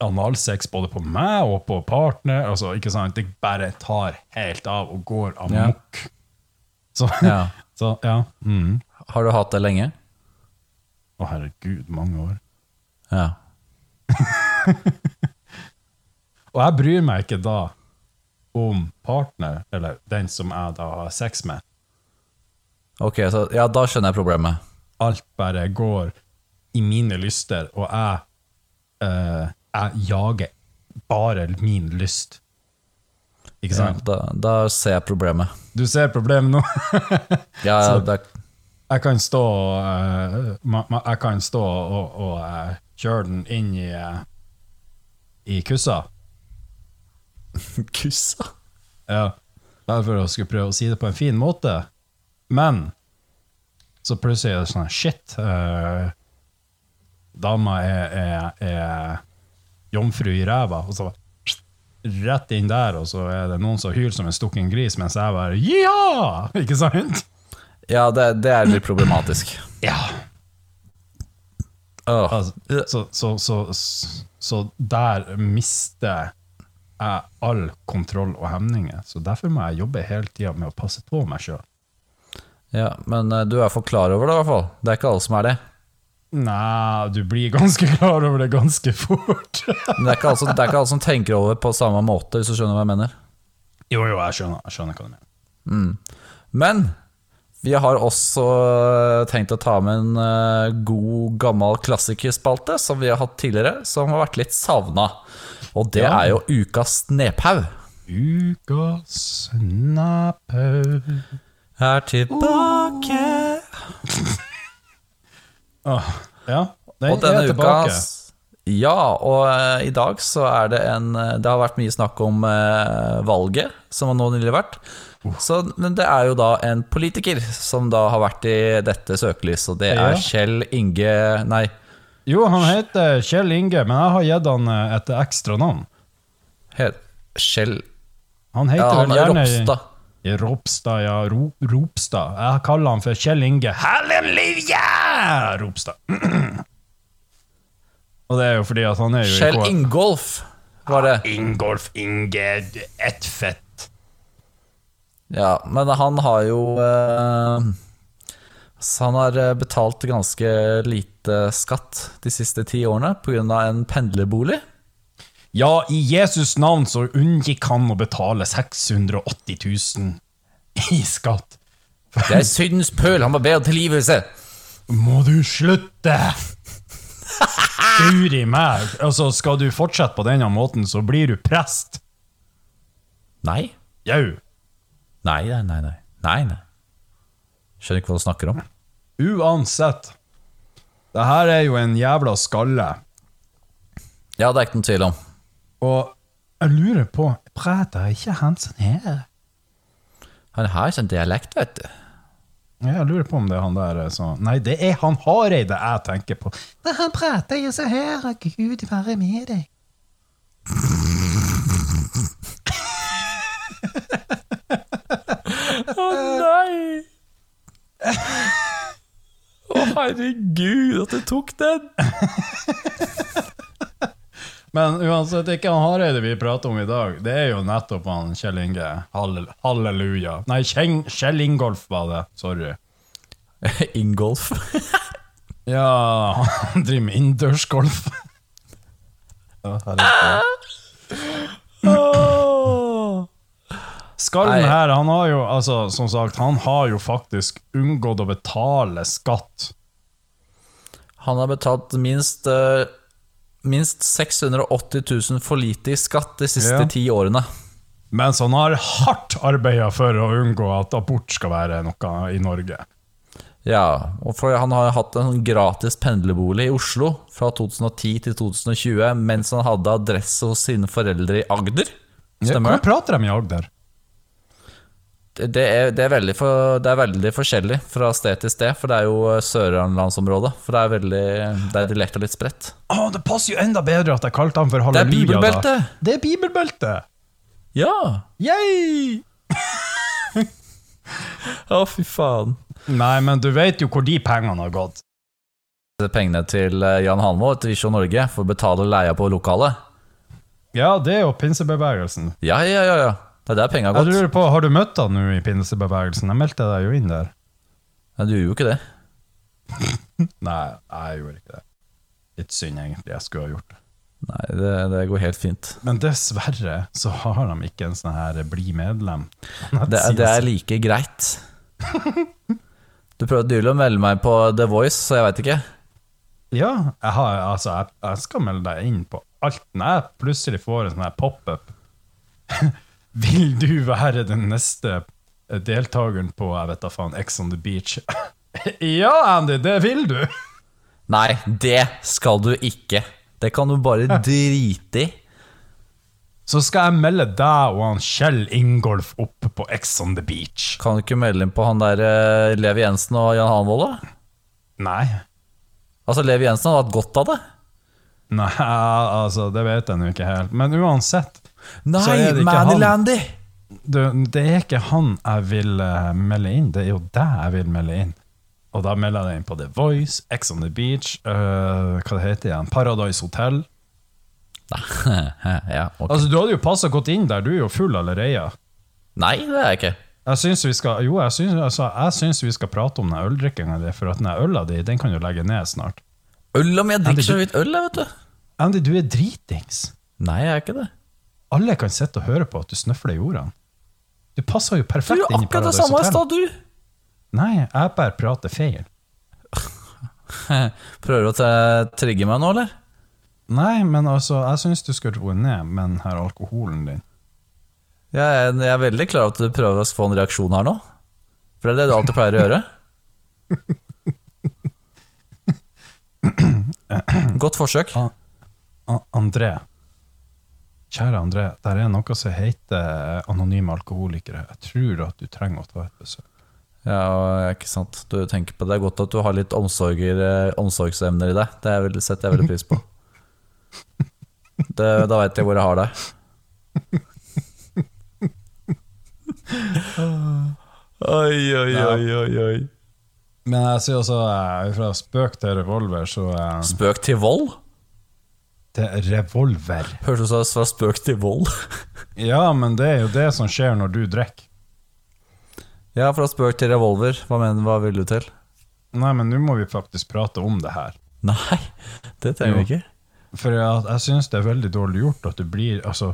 Speaker 7: analsex både på meg og på partner. Altså, ikke sant? Det bare tar helt av og går amok. Så,
Speaker 6: Ja.
Speaker 7: så ja. Mm.
Speaker 6: Har du hatt det lenge?
Speaker 7: Å, herregud, mange år.
Speaker 6: Ja.
Speaker 7: Og jeg bryr meg ikke da om partner, eller den som jeg da har sex med.
Speaker 6: Ok, så ja, da skjønner jeg problemet.
Speaker 7: Alt bare går i mine lyster, og jeg, eh, jeg jager bare min lyst. Ikke
Speaker 6: Ja,
Speaker 7: sant?
Speaker 6: da, da ser jeg problemet.
Speaker 7: Du ser problemet nå.
Speaker 6: Ja, ja, det er
Speaker 7: Jeg kan stå, eh, ma, ma, jeg kan stå og, og eh, kjøre den inn i, eh, i kussa.
Speaker 6: Kussa?
Speaker 7: Ja, bare for å skulle prøve å si det på en fin måte. Men så plutselig er det sånn Shit. eh, dama er, er, er jomfru i ræva. Og så rett inn der, og så er det noen som hyler som en stukken gris, mens jeg bare Ja! Ikke sant?
Speaker 6: Ja, det, det er litt problematisk.
Speaker 7: Ja.
Speaker 6: Åh.
Speaker 7: Altså, så, så, så, så, så der mister jeg all kontroll og hemninger. Så derfor må jeg jobbe hele tida med å passe på meg sjøl.
Speaker 6: Ja, men eh, du er for klar over det, i hvert fall. Det er ikke alle som er det.
Speaker 7: Nei, du blir ganske klar over det ganske fort.
Speaker 6: Men det er ikke alle som, det er ikke alle som tenker over på samme måte, hvis du skjønner hva jeg mener.
Speaker 7: jo, jo, jeg skjønner, jeg skjønner hva du mener.
Speaker 6: Men vi har også eh, tenkt å ta med en eh, god, gammel klassikerspalte som vi har hatt tidligere, som har vært litt savna. Og det
Speaker 7: Ja.
Speaker 6: er jo ukas nephaug.
Speaker 7: Ukas snaphaug.
Speaker 6: Er tilbake.
Speaker 7: Åh, ja, den
Speaker 6: Og denne
Speaker 7: er tilbake.
Speaker 6: uka Ja, og eh, i dag så er det en eh, Det har vært mye snakk om eh, valget, som har nå nylig vært.
Speaker 7: Uh.
Speaker 6: Så, men det er jo da en politiker som da har vært i dette søkelyset, og det
Speaker 7: Ja.
Speaker 6: er Kjell Inge Nei,
Speaker 7: Jo, han heter Kjell Inge, men jeg har gitt han eh, et ekstra navn.
Speaker 6: he, Kjell
Speaker 7: Han heter
Speaker 6: Ja, han
Speaker 7: vel
Speaker 6: er
Speaker 7: gjerne
Speaker 6: Ropstad.
Speaker 7: Ropstad, ja. Ro, Ropstad. Jeg kaller han for Kjell Inge. Halleluja! Ropstad. Og det er jo fordi at han er jo
Speaker 6: Kjell
Speaker 7: i K-
Speaker 6: Ingolf var det.
Speaker 7: Ingolf Inge Ettfett.
Speaker 6: Ja, men han har jo eh, så han har eh, betalt ganske lite skatt de siste ti årene pga. en pendlerbolig.
Speaker 7: Ja, i Jesus navn så unngikk han å betale 680 000 i skatt.
Speaker 6: Det er syndens pøl, han må be om tilgivelse!
Speaker 7: Må du slutte? Guri meg. Altså, skal du fortsette på denne måten, så blir du prest.
Speaker 6: Nei.
Speaker 7: Jau.
Speaker 6: Nei, nei, nei. nei. nei, nei. Skjønner ikke hva du snakker om.
Speaker 7: Uansett. Det her er jo en jævla skalle.
Speaker 6: Ja, det er ikke noen tvil om.
Speaker 7: Og jeg lurer på Prater ikke han sånn her?
Speaker 6: Han har sånn dialekt, vet du.
Speaker 7: Jeg lurer på om det er han der som Nei, det er han Hareide jeg tenker på. Nei, han prater jo så her, og Gud være med deg.
Speaker 6: Å nei! Å herregud, at du tok den!
Speaker 7: Men uansett, det er ikke han Hareide vi prater om i dag. Det er jo nettopp han Kjell Inge. Hallel halleluja. Nei, Kjeng Kjell Ingolf var det. Sorry.
Speaker 6: Ingolf.
Speaker 7: Ja, han driver med innendørsgolf. Ja, herregud. Skallen
Speaker 6: Nei.
Speaker 7: her, han har jo altså, som sagt, han har jo faktisk unngått å betale skatt.
Speaker 6: Han har betalt minst, eh, minst 680 000 for lite i skatt de siste
Speaker 7: Ja.
Speaker 6: ti årene.
Speaker 7: Mens han har hardt arbeida for å unngå at abort skal være noe i Norge.
Speaker 6: Ja, og for han har hatt en sånn gratis pendlerbolig i Oslo fra 2010 til 2020 mens han hadde adresse hos sine foreldre i Agder. Stemmer
Speaker 7: Hvordan
Speaker 6: det?
Speaker 7: prater de i Agder?
Speaker 6: Det er, det, er veldig for, det er veldig forskjellig fra sted til sted, for det er jo eh, Sørlandsområdet. For det er veldig Det er dialekta litt spredt.
Speaker 7: Å, det passer jo enda bedre at jeg kalte han for
Speaker 6: er
Speaker 7: halleluja.
Speaker 6: bibelbelte.
Speaker 7: da. Det er bibelbelte!
Speaker 6: Ja!
Speaker 7: Yay!
Speaker 6: Å, fy faen.
Speaker 7: Nei, men du vet jo hvor de pengene har gått.
Speaker 6: Pengene til eh, Jan Halvor til Visjon Norge for å betale leia på lokalet.
Speaker 7: Ja, det er jo pinsebevegelsen.
Speaker 6: Ja, ja, ja. ja. Det er der penga har
Speaker 7: Jeg
Speaker 6: gått.
Speaker 7: lurer på, Har du møtt han nå i pinsebevegelsen? Jeg meldte deg jo inn der.
Speaker 6: Nei, du gjorde jo ikke det.
Speaker 7: Nei, jeg gjorde ikke det. Litt synd, egentlig. Jeg skulle ha gjort det.
Speaker 6: Nei, det, det går helt fint.
Speaker 7: Men dessverre så har de ikke en sånn her bli medlem.
Speaker 6: Det, er- det er like greit. Du prøvde nylig å melde meg på The Voice, så jeg veit ikke.
Speaker 7: Ja, jeg, har, altså, jeg, jeg skal melde deg inn på alt når jeg plutselig får en sånn her pop-up. Vil du være den neste deltakeren på jeg vet da faen, X on the beach? ja, Andy, det vil du!
Speaker 6: Nei, det skal du ikke. Det kan du bare drite i.
Speaker 7: Så skal jeg melde deg og han Kjell Ingolf opp på X on the beach.
Speaker 6: Kan du ikke melde inn på han der eh, Levi Jensen og Jan Hanvold, da?
Speaker 7: Nei.
Speaker 6: Altså, Levi Jensen hadde hatt godt av det.
Speaker 7: Nei, altså, det vet jeg nå ikke helt. Men uansett, Så
Speaker 6: Nei,
Speaker 7: er det ikke han.
Speaker 6: Manilandy!
Speaker 7: du, det er ikke han jeg vil eh, melde inn, det er jo deg jeg vil melde inn. Og da melder jeg deg inn på The Voice, X on the Beach, øh, hva det heter igjen, Paradise Hotel.
Speaker 6: ja, ok.
Speaker 7: Altså, du hadde jo passet godt inn der, du er jo full allerede.
Speaker 6: Nei, det er jeg ikke.
Speaker 7: Jeg syns vi skal, jo, jeg syns, altså, jeg syns vi skal prate om den øldrikkinga di, for at den her øla di, den kan jo legge ned snart.
Speaker 6: Øl om jeg
Speaker 7: det
Speaker 6: drikker så
Speaker 7: du-
Speaker 6: vidt øl, jeg, vet du.
Speaker 7: Andy, du er dritings.
Speaker 6: Nei, jeg er ikke det.
Speaker 7: Alle kan sitte og høre på at du snøfler i ordene. Du passer jo
Speaker 6: Du
Speaker 7: perfekt
Speaker 6: gjorde
Speaker 7: inn i
Speaker 6: akkurat det
Speaker 7: Paradise
Speaker 6: samme i
Speaker 7: Hotel.
Speaker 6: stad, du.
Speaker 7: Nei, jeg bare prater feil.
Speaker 6: Prøver du å te- trigge meg nå, eller?
Speaker 7: Nei, men altså, jeg syns du skal roe ned med den her alkoholen din.
Speaker 6: Jeg er, jeg er veldig klar over at du prøver å få en reaksjon her nå. For det er det du alltid pleier å gjøre. Godt forsøk.
Speaker 7: A- André. Kjære André, der er noe som heter eh, anonyme alkoholikere. Jeg tror at du trenger å ta et besøk.
Speaker 6: Ja, ikke sant. Du tenker på det. Det er godt at du har litt omsorger, omsorgsevner i deg. Det er veldig- setter jeg veldig pris på. Det, da veit jeg hvor jeg har deg. Oi, oi, oi, oi, oi.
Speaker 7: Men jeg sier også eh, fra spøk til revolver, så eh,
Speaker 6: Spøk til vold?
Speaker 7: Til revolver.
Speaker 6: Hørtes ut som fra spøk til vold.
Speaker 7: Ja, men det er jo det som skjer når du drikker.
Speaker 6: Ja, fra spøk til revolver. Hva, mener, hva vil du til?
Speaker 7: Nei, men nå må vi faktisk prate om det her.
Speaker 6: Nei, det trenger vi
Speaker 7: Jo.
Speaker 6: ikke.
Speaker 7: For jeg, jeg syns det er veldig dårlig gjort at du blir Altså,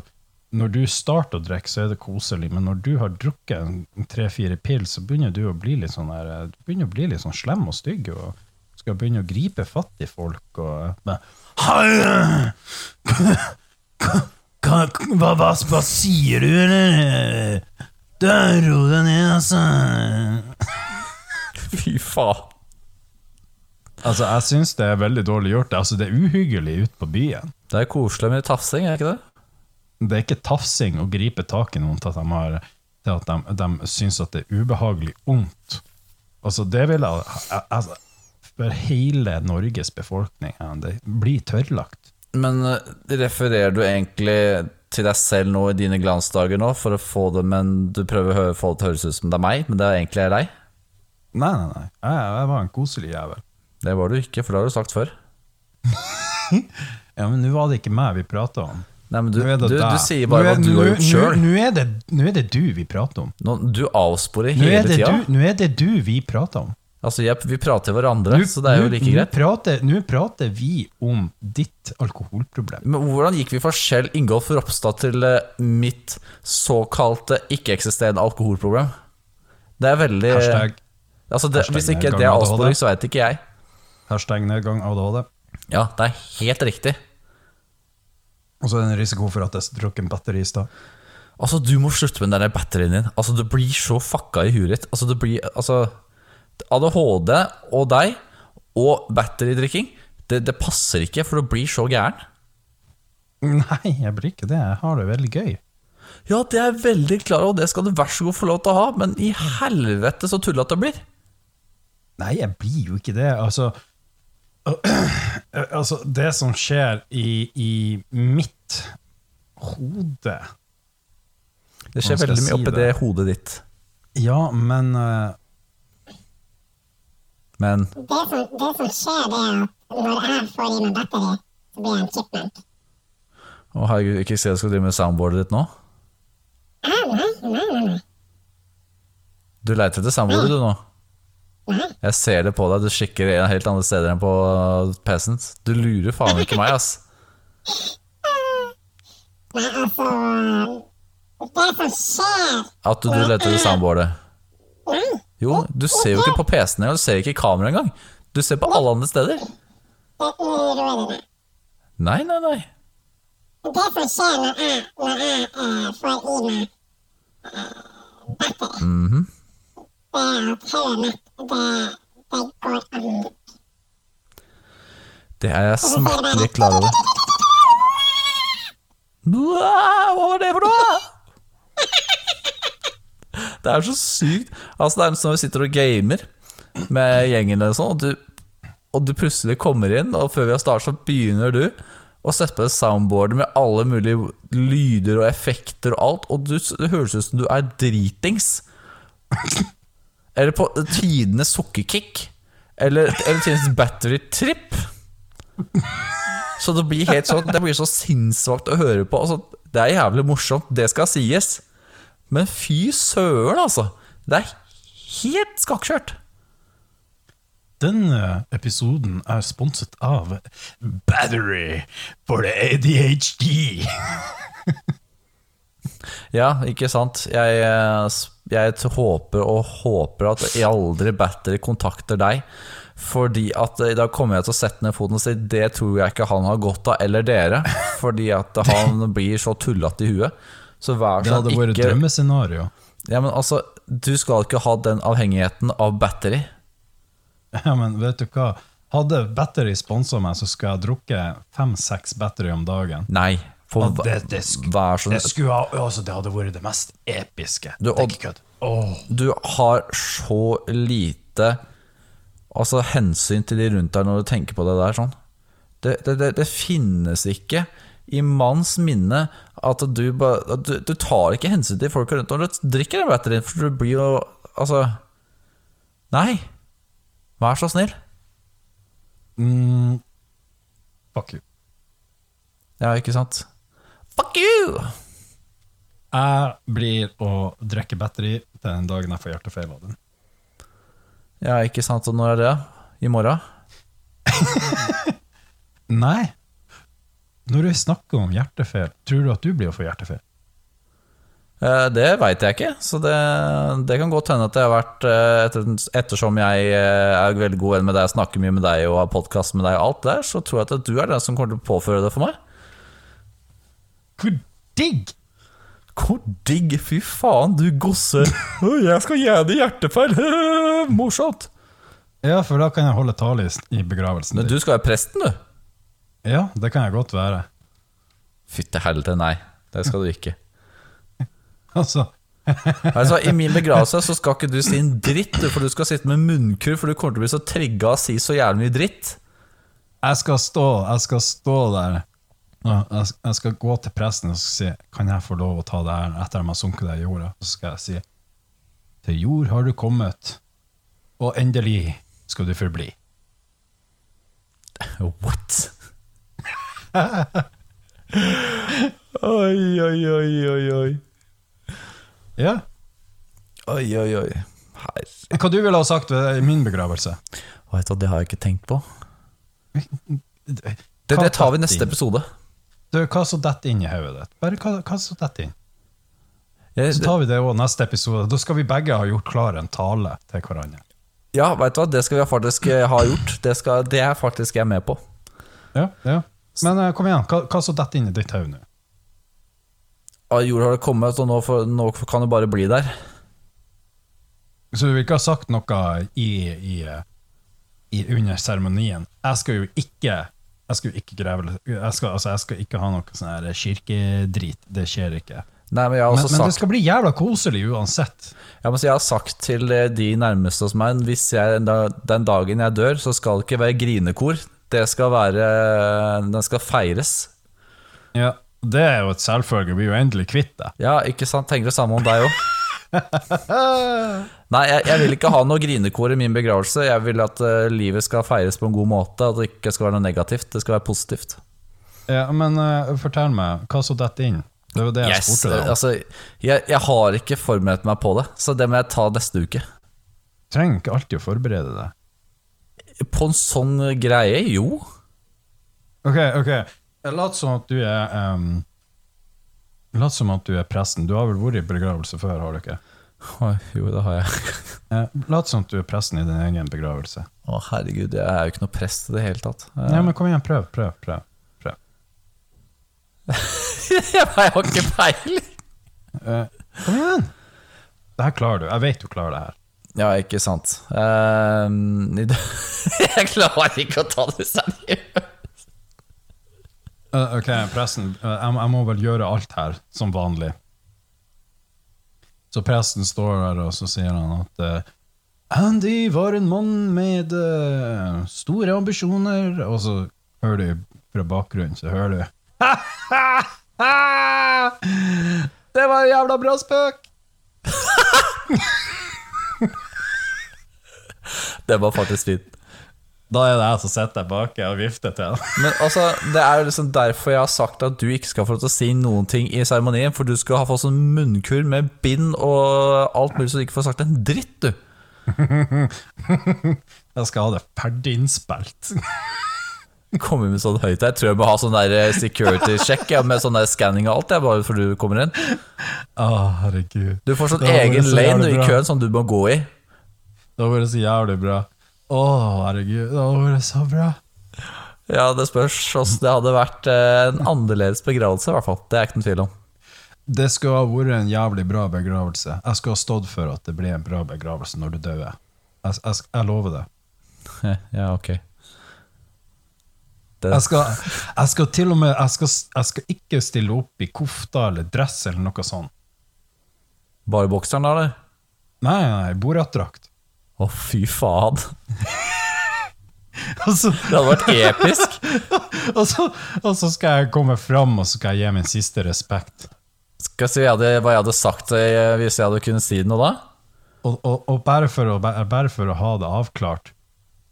Speaker 7: når du starter å drikke, så er det koselig, men når du har drukket en tre-fire pils, så begynner du å bli litt sånn der, Du begynner å bli litt sånn slem og stygg og skal begynne å gripe fatt i folk og eh, men, «Hei, eh, hva, hva, hva, hva sier du, eller? Da, Ro deg ned, altså.
Speaker 6: Fy faen.
Speaker 7: Altså, jeg syns det er veldig dårlig gjort. Altså, det er uhyggelig ute på byen.
Speaker 6: Det er koselig med tafsing, er ikke det?
Speaker 7: det er ikke tafsing å gripe tak i noen til at de, har, til at de, de syns at det er ubehagelig ondt. Altså, det vil jeg altså, For hele Norges befolkning, Andy, bli tørrlagt.
Speaker 6: Men eh, refererer du egentlig til deg selv nå i dine glansdager nå, for å få det Men du prøver å hø- få det til å høres ut som det er meg, men det er egentlig deg?
Speaker 7: Nei, nei, nei. Jeg, jeg var en koselig jævel.
Speaker 6: Det var du ikke, for det har du sagt før.
Speaker 7: Ja, Men nå var det ikke meg vi prata om.
Speaker 6: Nei, men du,
Speaker 7: Nå er
Speaker 6: du,
Speaker 7: det
Speaker 6: du,
Speaker 7: deg.
Speaker 6: sier bare
Speaker 7: Nå er-
Speaker 6: hva du har
Speaker 7: nå-
Speaker 6: gjort sjøl.
Speaker 7: Nå nå er, det- nå er det du vi prater om.
Speaker 6: Du avsporer
Speaker 7: Nå
Speaker 6: hele
Speaker 7: er det
Speaker 6: tida.
Speaker 7: du, nå er det du vi prater om.
Speaker 6: Altså, jeg, vi prater til hverandre,
Speaker 7: Nå-
Speaker 6: så det er jo
Speaker 7: nå-
Speaker 6: like greit.
Speaker 7: Nå prater, nå prater vi om ditt alkoholproblem.
Speaker 6: Men hvordan gikk vi fra Kjell Ingolf Ropstad til eh, mitt såkalte ikke-eksisterende alkoholproblem? Det er veldig eh,
Speaker 7: Hashtag,
Speaker 6: Altså, det,
Speaker 7: hashtag
Speaker 6: hvis ikke
Speaker 7: nedgang
Speaker 6: det er
Speaker 7: ADHD.
Speaker 6: avsporing, så veit ikke jeg.
Speaker 7: hashtag nedgang ADHD.
Speaker 6: Ja, det er helt riktig.
Speaker 7: Og så er det en risiko for at jeg drukket en batteri i stad.
Speaker 6: Altså, du må slutte med den der batterien din. Altså, du blir så fucka i huet ditt. Altså, du blir Altså ADHD og deg og batterydrikking, det, det passer ikke, for du blir så gæren.
Speaker 7: Nei, jeg blir ikke det. Jeg har det veldig gøy.
Speaker 6: Ja, det er jeg veldig klar over, det skal du vær så god få lov til å ha, men i helvete så tullete det blir.
Speaker 7: Nei, jeg blir jo ikke det. Altså, altså Det som skjer i, i mitt hode
Speaker 6: Det skjer
Speaker 7: Hvordan skal jeg
Speaker 6: veldig mye
Speaker 7: si
Speaker 6: oppi det
Speaker 7: det?
Speaker 6: hodet ditt.
Speaker 7: Ja, men eh,
Speaker 6: Men
Speaker 1: Det som, det som skjer, det er at når jeg får i meg batteri, så blir jeg en chipmunk.
Speaker 6: å herregud, ikke se du skal drive med soundboardet ditt nå.
Speaker 1: Ah, nei, nei, nei, nei.
Speaker 6: Du leiter etter soundboardet du nå.
Speaker 1: Nei.
Speaker 6: Jeg ser det på deg, du kikker i helt andre steder enn på PC-en. Du lurer faen ikke meg, ass.
Speaker 1: Nei, altså um, Det som skjer
Speaker 6: At du, du leter etter soundboardet.
Speaker 1: Nei.
Speaker 6: Jo, du ser jo ikke på PC-en engang, du ser ikke i kameraet engang. Du ser på alle andre steder.
Speaker 1: Det uroer meg.
Speaker 6: Nei, nei, nei.
Speaker 1: Det som skjer når jeg, når jeg eh, får i meg eh, batteri, det er at hodet mitt, det, det går amok.
Speaker 6: Det er jeg smertelig klar over. Blæh, Hva var det for noe? Det er så sykt. Altså, det er som når vi sitter og gamer med gjengen, og, sånn, og, du, og du plutselig kommer inn, og før vi har startet, så begynner du å sette på det soundboardet med alle mulige lyder og effekter og alt, og du, det høres ut som du er dritings. Eller på tidenes sukkerkick. Eller, eller tidenes battery trip. Så det blir helt sånn Det blir så sinnssvakt å høre på. Altså, det er jævlig morsomt, det skal sies. Men fy søren, altså. Det er helt skakkjørt.
Speaker 7: Denne episoden er sponset av Battery for the ADHD.
Speaker 6: Ja, ikke sant. Jeg, eh, jeg t- håper og håper at jeg aldri battery kontakter deg. Fordi at eh, da kommer jeg til å sette ned foten og si det tror jeg ikke han har godt av, eller dere. Fordi at han blir så tullete i huet. Så vær
Speaker 7: Det
Speaker 6: så
Speaker 7: hadde
Speaker 6: snill
Speaker 7: vært
Speaker 6: ikke
Speaker 7: drømmescenario.
Speaker 6: Ja, men altså, du skal ikke ha den avhengigheten av battery.
Speaker 7: Ja, men vet du hva? Hadde Battery sponsa meg, så skulle jeg drukke fem-seks Battery om dagen.
Speaker 6: Nei. For
Speaker 7: Ja, det- det sk-
Speaker 6: vær så
Speaker 7: Det, skulle ha, altså, det hadde vært det mest episke.
Speaker 6: Du,
Speaker 7: det er
Speaker 6: og-
Speaker 7: ikke kødd. Åh.
Speaker 6: Du har så lite Altså hensyn til de rundt deg når du tenker på det der. Sånn. Det, det, det, det finnes ikke i manns minne at du bare at du, du tar ikke hensyn til folk rundt når du drikker den batterien, for du blir jo Altså Nei! Vær så snill.
Speaker 7: Mm. Fuck you.
Speaker 6: Ja, ikke sant? Fuck you!
Speaker 7: Jeg blir å drikke Battery til den dagen jeg får hjertefeil av den.
Speaker 6: Ja, ikke sant. Og når er det? I morgen?
Speaker 7: Nei. Når du snakker om hjertefeil, tror du at du blir å få hjertefeil?
Speaker 6: Eh, Det veit jeg ikke, så det, det kan godt hende at det har vært eh, etter, Ettersom jeg eh, er veldig god venn med deg, snakker mye med deg og har podkast med deg, og alt der, så tror jeg at du er den som kommer til å påføre det for meg.
Speaker 7: Hvor digg!
Speaker 6: Hvor digg! Fy faen, du gosse. Å, Jeg skal gjerne hjertefeil! Morsomt!
Speaker 7: Ja, for da kan jeg holde tale i s- i begravelsen
Speaker 6: Men
Speaker 7: din.
Speaker 6: du skal være presten, du.
Speaker 7: Ja, det kan jeg godt være.
Speaker 6: Fytte helvete, nei. Det skal du ikke.
Speaker 7: Altså,
Speaker 6: Altså, I min begravelse så skal ikke du si en dritt, du, for du skal sitte med munnkurv, for du kommer til å bli så trigga av å si så jævlig mye dritt.
Speaker 7: jeg skal stå, jeg skal stå der. Ja, Jeg sk- jeg skal gå til presten og skal si Kan jeg få lov å ta det her etter at jeg har sunket deg i jorda? Så skal jeg si Til jord har du kommet, og endelig skal du forbli.
Speaker 6: What? oi, oi, oi, oi, oi.
Speaker 7: Ja,
Speaker 6: Oi, oi, oi. Her.
Speaker 7: Hva du ville ha sagt ved min begravelse?
Speaker 6: Vet du, hva, det har jeg ikke tenkt på. Det, det tar vi i neste episode.
Speaker 7: Du, hva som detter inn i hodet ditt? Bare hva, hva som detter inn?
Speaker 6: Jeg,
Speaker 7: Så tar vi det også neste episode. Da skal vi begge ha gjort klar en tale til hverandre.
Speaker 6: ja, vet du hva, det skal vi faktisk eh, ha gjort. Det, skal, det er faktisk jeg med på.
Speaker 7: Ja, ja. Men eh, kom igjen, hva, hva som detter inn i ditt hode nå?
Speaker 6: Ah, jord har det kommet, og nå, får- nå kan det bare bli der.
Speaker 7: Så du vil ikke ha sagt noe i, i, i under seremonien. Jeg skal jo ikke jeg skal jo ikke greve, jeg skal, altså jeg skal ikke ha noe sånn her kirkedrit. Det skjer ikke.
Speaker 6: Nei, men jeg har
Speaker 7: Men,
Speaker 6: også
Speaker 7: men det
Speaker 6: sagt,
Speaker 7: skal bli jævla koselig uansett.
Speaker 6: ja, men så jeg har sagt til eh, de nærmeste hos meg Hvis jeg, da- den dagen jeg dør, så skal det ikke være grinekor. Det skal være Den skal feires.
Speaker 7: Ja, Det er jo et selvfølge. Vi blir jo endelig kvitt det.
Speaker 6: Ja, ikke sant? Tenker det samme om deg òg. Nei, jeg, jeg vil ikke ha noe grinekor i min begravelse. Jeg vil at eh, livet skal feires på en god måte. At det ikke skal være noe negativt. Det skal være positivt.
Speaker 7: Ja, men eh, fortell meg, hva så detter inn? Det var det jeg
Speaker 6: Yes,
Speaker 7: spurte deg om.
Speaker 6: altså, jeg, jeg har ikke forberedt meg på det, så det må jeg ta neste uke.
Speaker 7: Trenger ikke alltid å forberede deg.
Speaker 6: På en sånn greie, jo.
Speaker 7: Ok, ok. Lat som at du er em, Lat som at du er presten. Du har vel vært i begravelse før, har du ikke?
Speaker 6: Oi, jo, det har jeg.
Speaker 7: Eh, Lat som at du er presten i din egen begravelse.
Speaker 6: Å, herregud, jeg er jo ikke noe prest i det hele tatt. Eh,
Speaker 7: Ja, men kom igjen, prøv, prøv, prøv. prøv.
Speaker 6: jeg har ikke peiling.
Speaker 7: Eh, kom igjen! Det her klarer du. Jeg vet du klarer det her.
Speaker 6: Ja, ikke sant. Eh, i dag- jeg klarer ikke å ta det seriøst.
Speaker 7: Eh, ok, presten, eh, jeg, må- jeg må vel gjøre alt her, som vanlig. Så presten står der, og så sier han at eh, Andy var en mann med eh, store ambisjoner, og så hører du fra bakgrunnen, så hører du Det var en jævla bra spøk!
Speaker 6: Det var faktisk fint.
Speaker 7: Da er det jeg som sitter der bak og vifter til han.
Speaker 6: Men altså, det er jo liksom derfor jeg har sagt at du ikke skal få lov til å si noen ting i seremonien, for du skal ha fått sånn munnkur med bind og alt mulig, så du ikke får sagt en dritt, du.
Speaker 7: Jeg skal ha det ferdig innspilt.
Speaker 6: Kommer med sånn høyt Jeg tror jeg må ha sånn der security check ja, med sånn der scanning og alt, jeg, bare før du kommer inn.
Speaker 7: Å, herregud.
Speaker 6: Du får sånn
Speaker 7: Det var
Speaker 6: egen
Speaker 7: så
Speaker 6: lane i
Speaker 7: jævlig bra.
Speaker 6: køen som du må gå i.
Speaker 7: Det har vært så jævlig bra. Å, herregud, det har vært så bra.
Speaker 6: Ja, det spørs åssen det hadde vært eh, en annerledes begravelse, i hvert fall. Det er ikke noen tvil om.
Speaker 7: Det skulle ha vært en jævlig bra begravelse. Jeg skulle ha stått for at det ble en bra begravelse når du dør. Jeg, jeg, sk- jeg lover det.
Speaker 6: Ja, ok.
Speaker 7: Jeg skal, jeg skal til og med jeg skal, s- jeg skal ikke stille opp i kofta eller dress eller noe sånt.
Speaker 6: Bare bokseren, da, eller?
Speaker 7: Nei, nei, boratdrakt.
Speaker 6: Å, fy faen.
Speaker 7: Og så,
Speaker 6: Det hadde vært episk.
Speaker 7: og, så, og så skal jeg komme fram og så skal jeg gi min siste respekt.
Speaker 6: Skal jeg si hva jeg hadde- hva jeg hadde sagt eh, hvis jeg hadde kunnet si det nå, da?
Speaker 7: Og, og, og bare, for å, bare for å ha det avklart,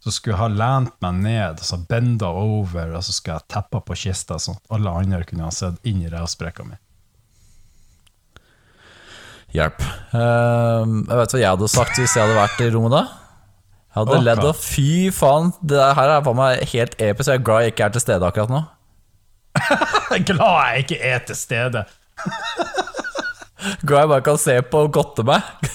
Speaker 7: så skulle jeg ha lent meg ned, altså benda over, og så skulle jeg teppa på kista, sånn at alle andre kunne ha sett inn i revsprekka mi.
Speaker 6: Hjelp. Ehm, jeg vet hva jeg hadde sagt hvis jeg hadde vært i rommet da? Jeg hadde
Speaker 7: Å,
Speaker 6: ledd
Speaker 7: klar.
Speaker 6: og fy faen, det der her er faen meg helt episk. Jeg er glad jeg ikke er til stede akkurat nå.
Speaker 7: Jeg er glad jeg ikke er til stede!
Speaker 6: Glad jeg bare kan se på og godte meg.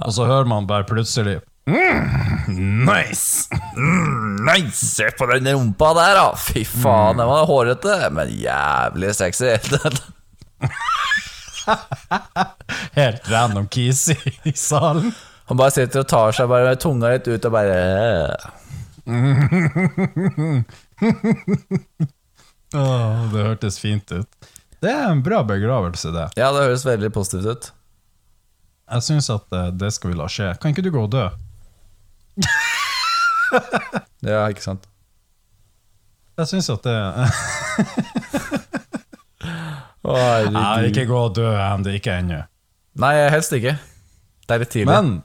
Speaker 7: Og så hører man bare plutselig mm, Nice!
Speaker 6: Nei, Mm, se på den rumpa der, da! Fy faen, den var hårete, men jævlig sexy.
Speaker 7: Helt random kis i, i salen.
Speaker 6: Han bare sitter og tar seg bare med tunga litt ut og bare
Speaker 7: Åh, det hørtes fint ut. Det er en bra begravelse, det.
Speaker 6: Ja, det høres veldig positivt ut.
Speaker 7: Jeg syns at eh, det skal vi la skje. Kan ikke du gå og dø?
Speaker 6: Ja, ikke sant?
Speaker 7: Jeg syns at det
Speaker 6: Å, herregud.
Speaker 7: Nei, ikke gå og dø, Andy. Ikke ennå.
Speaker 6: Nei, helst ikke. Det er litt tidlig.
Speaker 7: Men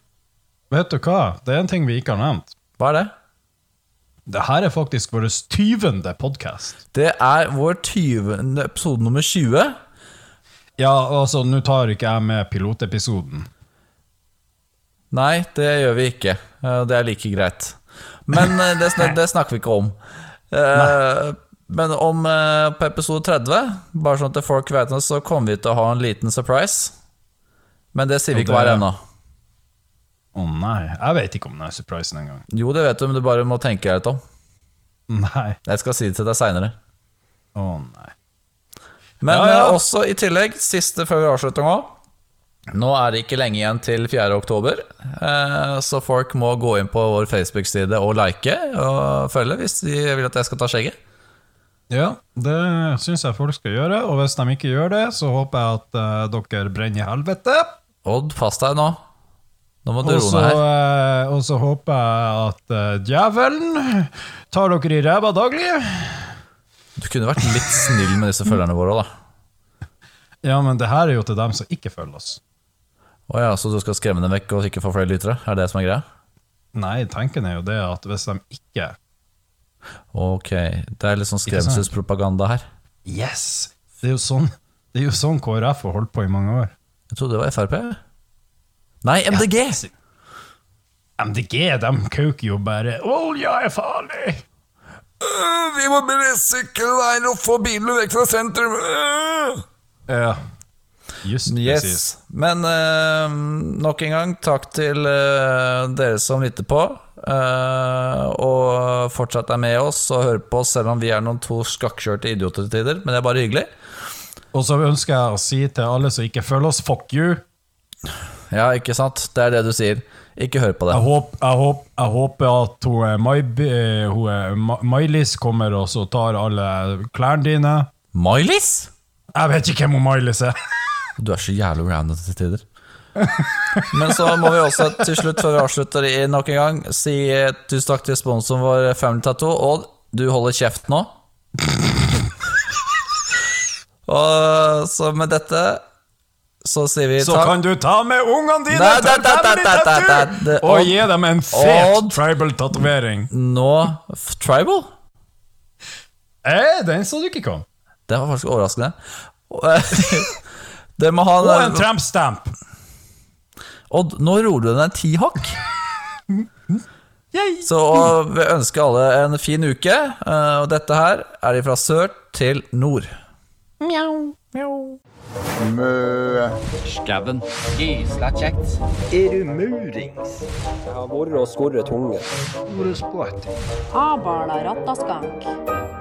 Speaker 7: vet du hva? Det er en ting vi ikke har nevnt.
Speaker 6: Hva er det?
Speaker 7: Det her er faktisk vår tyvende podkast.
Speaker 6: Det er vår 20. episode nummer 20.
Speaker 7: Ja, altså, nå tar ikke jeg med pilotepisoden.
Speaker 6: Nei, det gjør vi ikke. Eh, Det er like greit. Men eh, det, sn- det snakker vi ikke om. Eh, Men om eh, på episode 30, bare sånn at folk vet det, så kommer vi til å ha en liten surprise. Men det sier vi
Speaker 7: Og
Speaker 6: ikke hva er
Speaker 7: det-
Speaker 6: ennå.
Speaker 7: Å nei, jeg vet ikke om den surprisen engang.
Speaker 6: Jo, det vet du, men du bare må tenke deg litt om.
Speaker 7: Nei.
Speaker 6: Jeg skal si det til deg seinere.
Speaker 7: Å nei.
Speaker 6: Men
Speaker 7: Ja, ja.
Speaker 6: eh, også i tillegg, siste før vi avslutter nå Nå er det ikke lenge igjen til 4. oktober, eh, så folk må gå inn på vår Facebook-side og like og følge hvis de vil at jeg skal ta skjegget.
Speaker 7: Ja, det syns jeg folk skal gjøre. Og hvis de ikke gjør det, så håper jeg at eh, dere brenner i helvete.
Speaker 6: Odd, pass deg nå. Nå må du
Speaker 7: Og
Speaker 6: roe
Speaker 7: så,
Speaker 6: ned her.
Speaker 7: eh, og så håper jeg at eh, djevelen tar dere i ræva daglig.
Speaker 6: Du kunne vært litt snill med disse følgerne våre òg, da.
Speaker 7: Ja, men det her er jo til dem som ikke følger oss.
Speaker 6: Å ja, så du skal skremme dem vekk og ikke få flere lyttere? Er det det som er greia?
Speaker 7: Nei, tanken er jo det at hvis de ikke
Speaker 6: Ok, det er litt sånn
Speaker 7: Ikke sant?
Speaker 6: skremselspropaganda her.
Speaker 7: Yes! Det er jo sånn, det er jo sånn KrF har holdt på i mange år.
Speaker 6: Jeg trodde det var Frp. Nei, MDG!
Speaker 7: MDG, de kauker jo bare 'Olja er farlig'!
Speaker 6: Vi må bli sykkelveier og få bilene vekk fra sentrum!
Speaker 7: Ja. Just presis.
Speaker 6: Yes. Men eh, nok en gang, takk til eh, dere som lytter på. eh, og fortsatt er med oss og hører på oss, selv om vi er noen to skakkjørte idioter til tider. Men det er bare hyggelig.
Speaker 7: Og så ønsker jeg å si til alle som ikke følger oss, fuck you.
Speaker 6: Ja, ikke sant? Det er det du sier. Ikke hør på det.
Speaker 7: Jeg, håp, jeg, håp, jeg håper at hun, eh, Mayb- eh, hun, eh, Ma- Mailis kommer og så tar alle klærne dine.
Speaker 6: Miley's?
Speaker 7: Jeg vet ikke hvem hun Mailis er.
Speaker 6: Du er så jævlig random til tider. Men så må vi også til slutt, før vi avslutter i nok en gang, si eh, tusen takk til sponsoren vår Family Tattoo. Odd, du holder kjeft nå. Og så med dette så sier vi
Speaker 7: Så
Speaker 6: takk.
Speaker 7: kan du ta med ungene dine
Speaker 6: Nei,
Speaker 7: til
Speaker 6: da, da, da,
Speaker 7: Family
Speaker 6: da, da, da,
Speaker 7: Tattoo,
Speaker 6: det-
Speaker 7: og
Speaker 6: Odd-
Speaker 7: gi dem en fet
Speaker 6: Odd-
Speaker 7: tribal-tatovering.
Speaker 6: Nå f- Tribal?
Speaker 7: Eh, den så du ikke kom.
Speaker 6: Det var faktisk overraskende. Og, eh, Det må ha
Speaker 7: Og en tramp-stamp.
Speaker 6: Odd, nå roer du deg ti hakk. Så og vi ønsker alle en fin uke. eh, Og dette her er fra sør til nord.
Speaker 2: Skauen. Gisla kjekt.
Speaker 4: Erumurings.
Speaker 5: Jeg har vært og skåret tunge.
Speaker 3: Abarna ratta skank.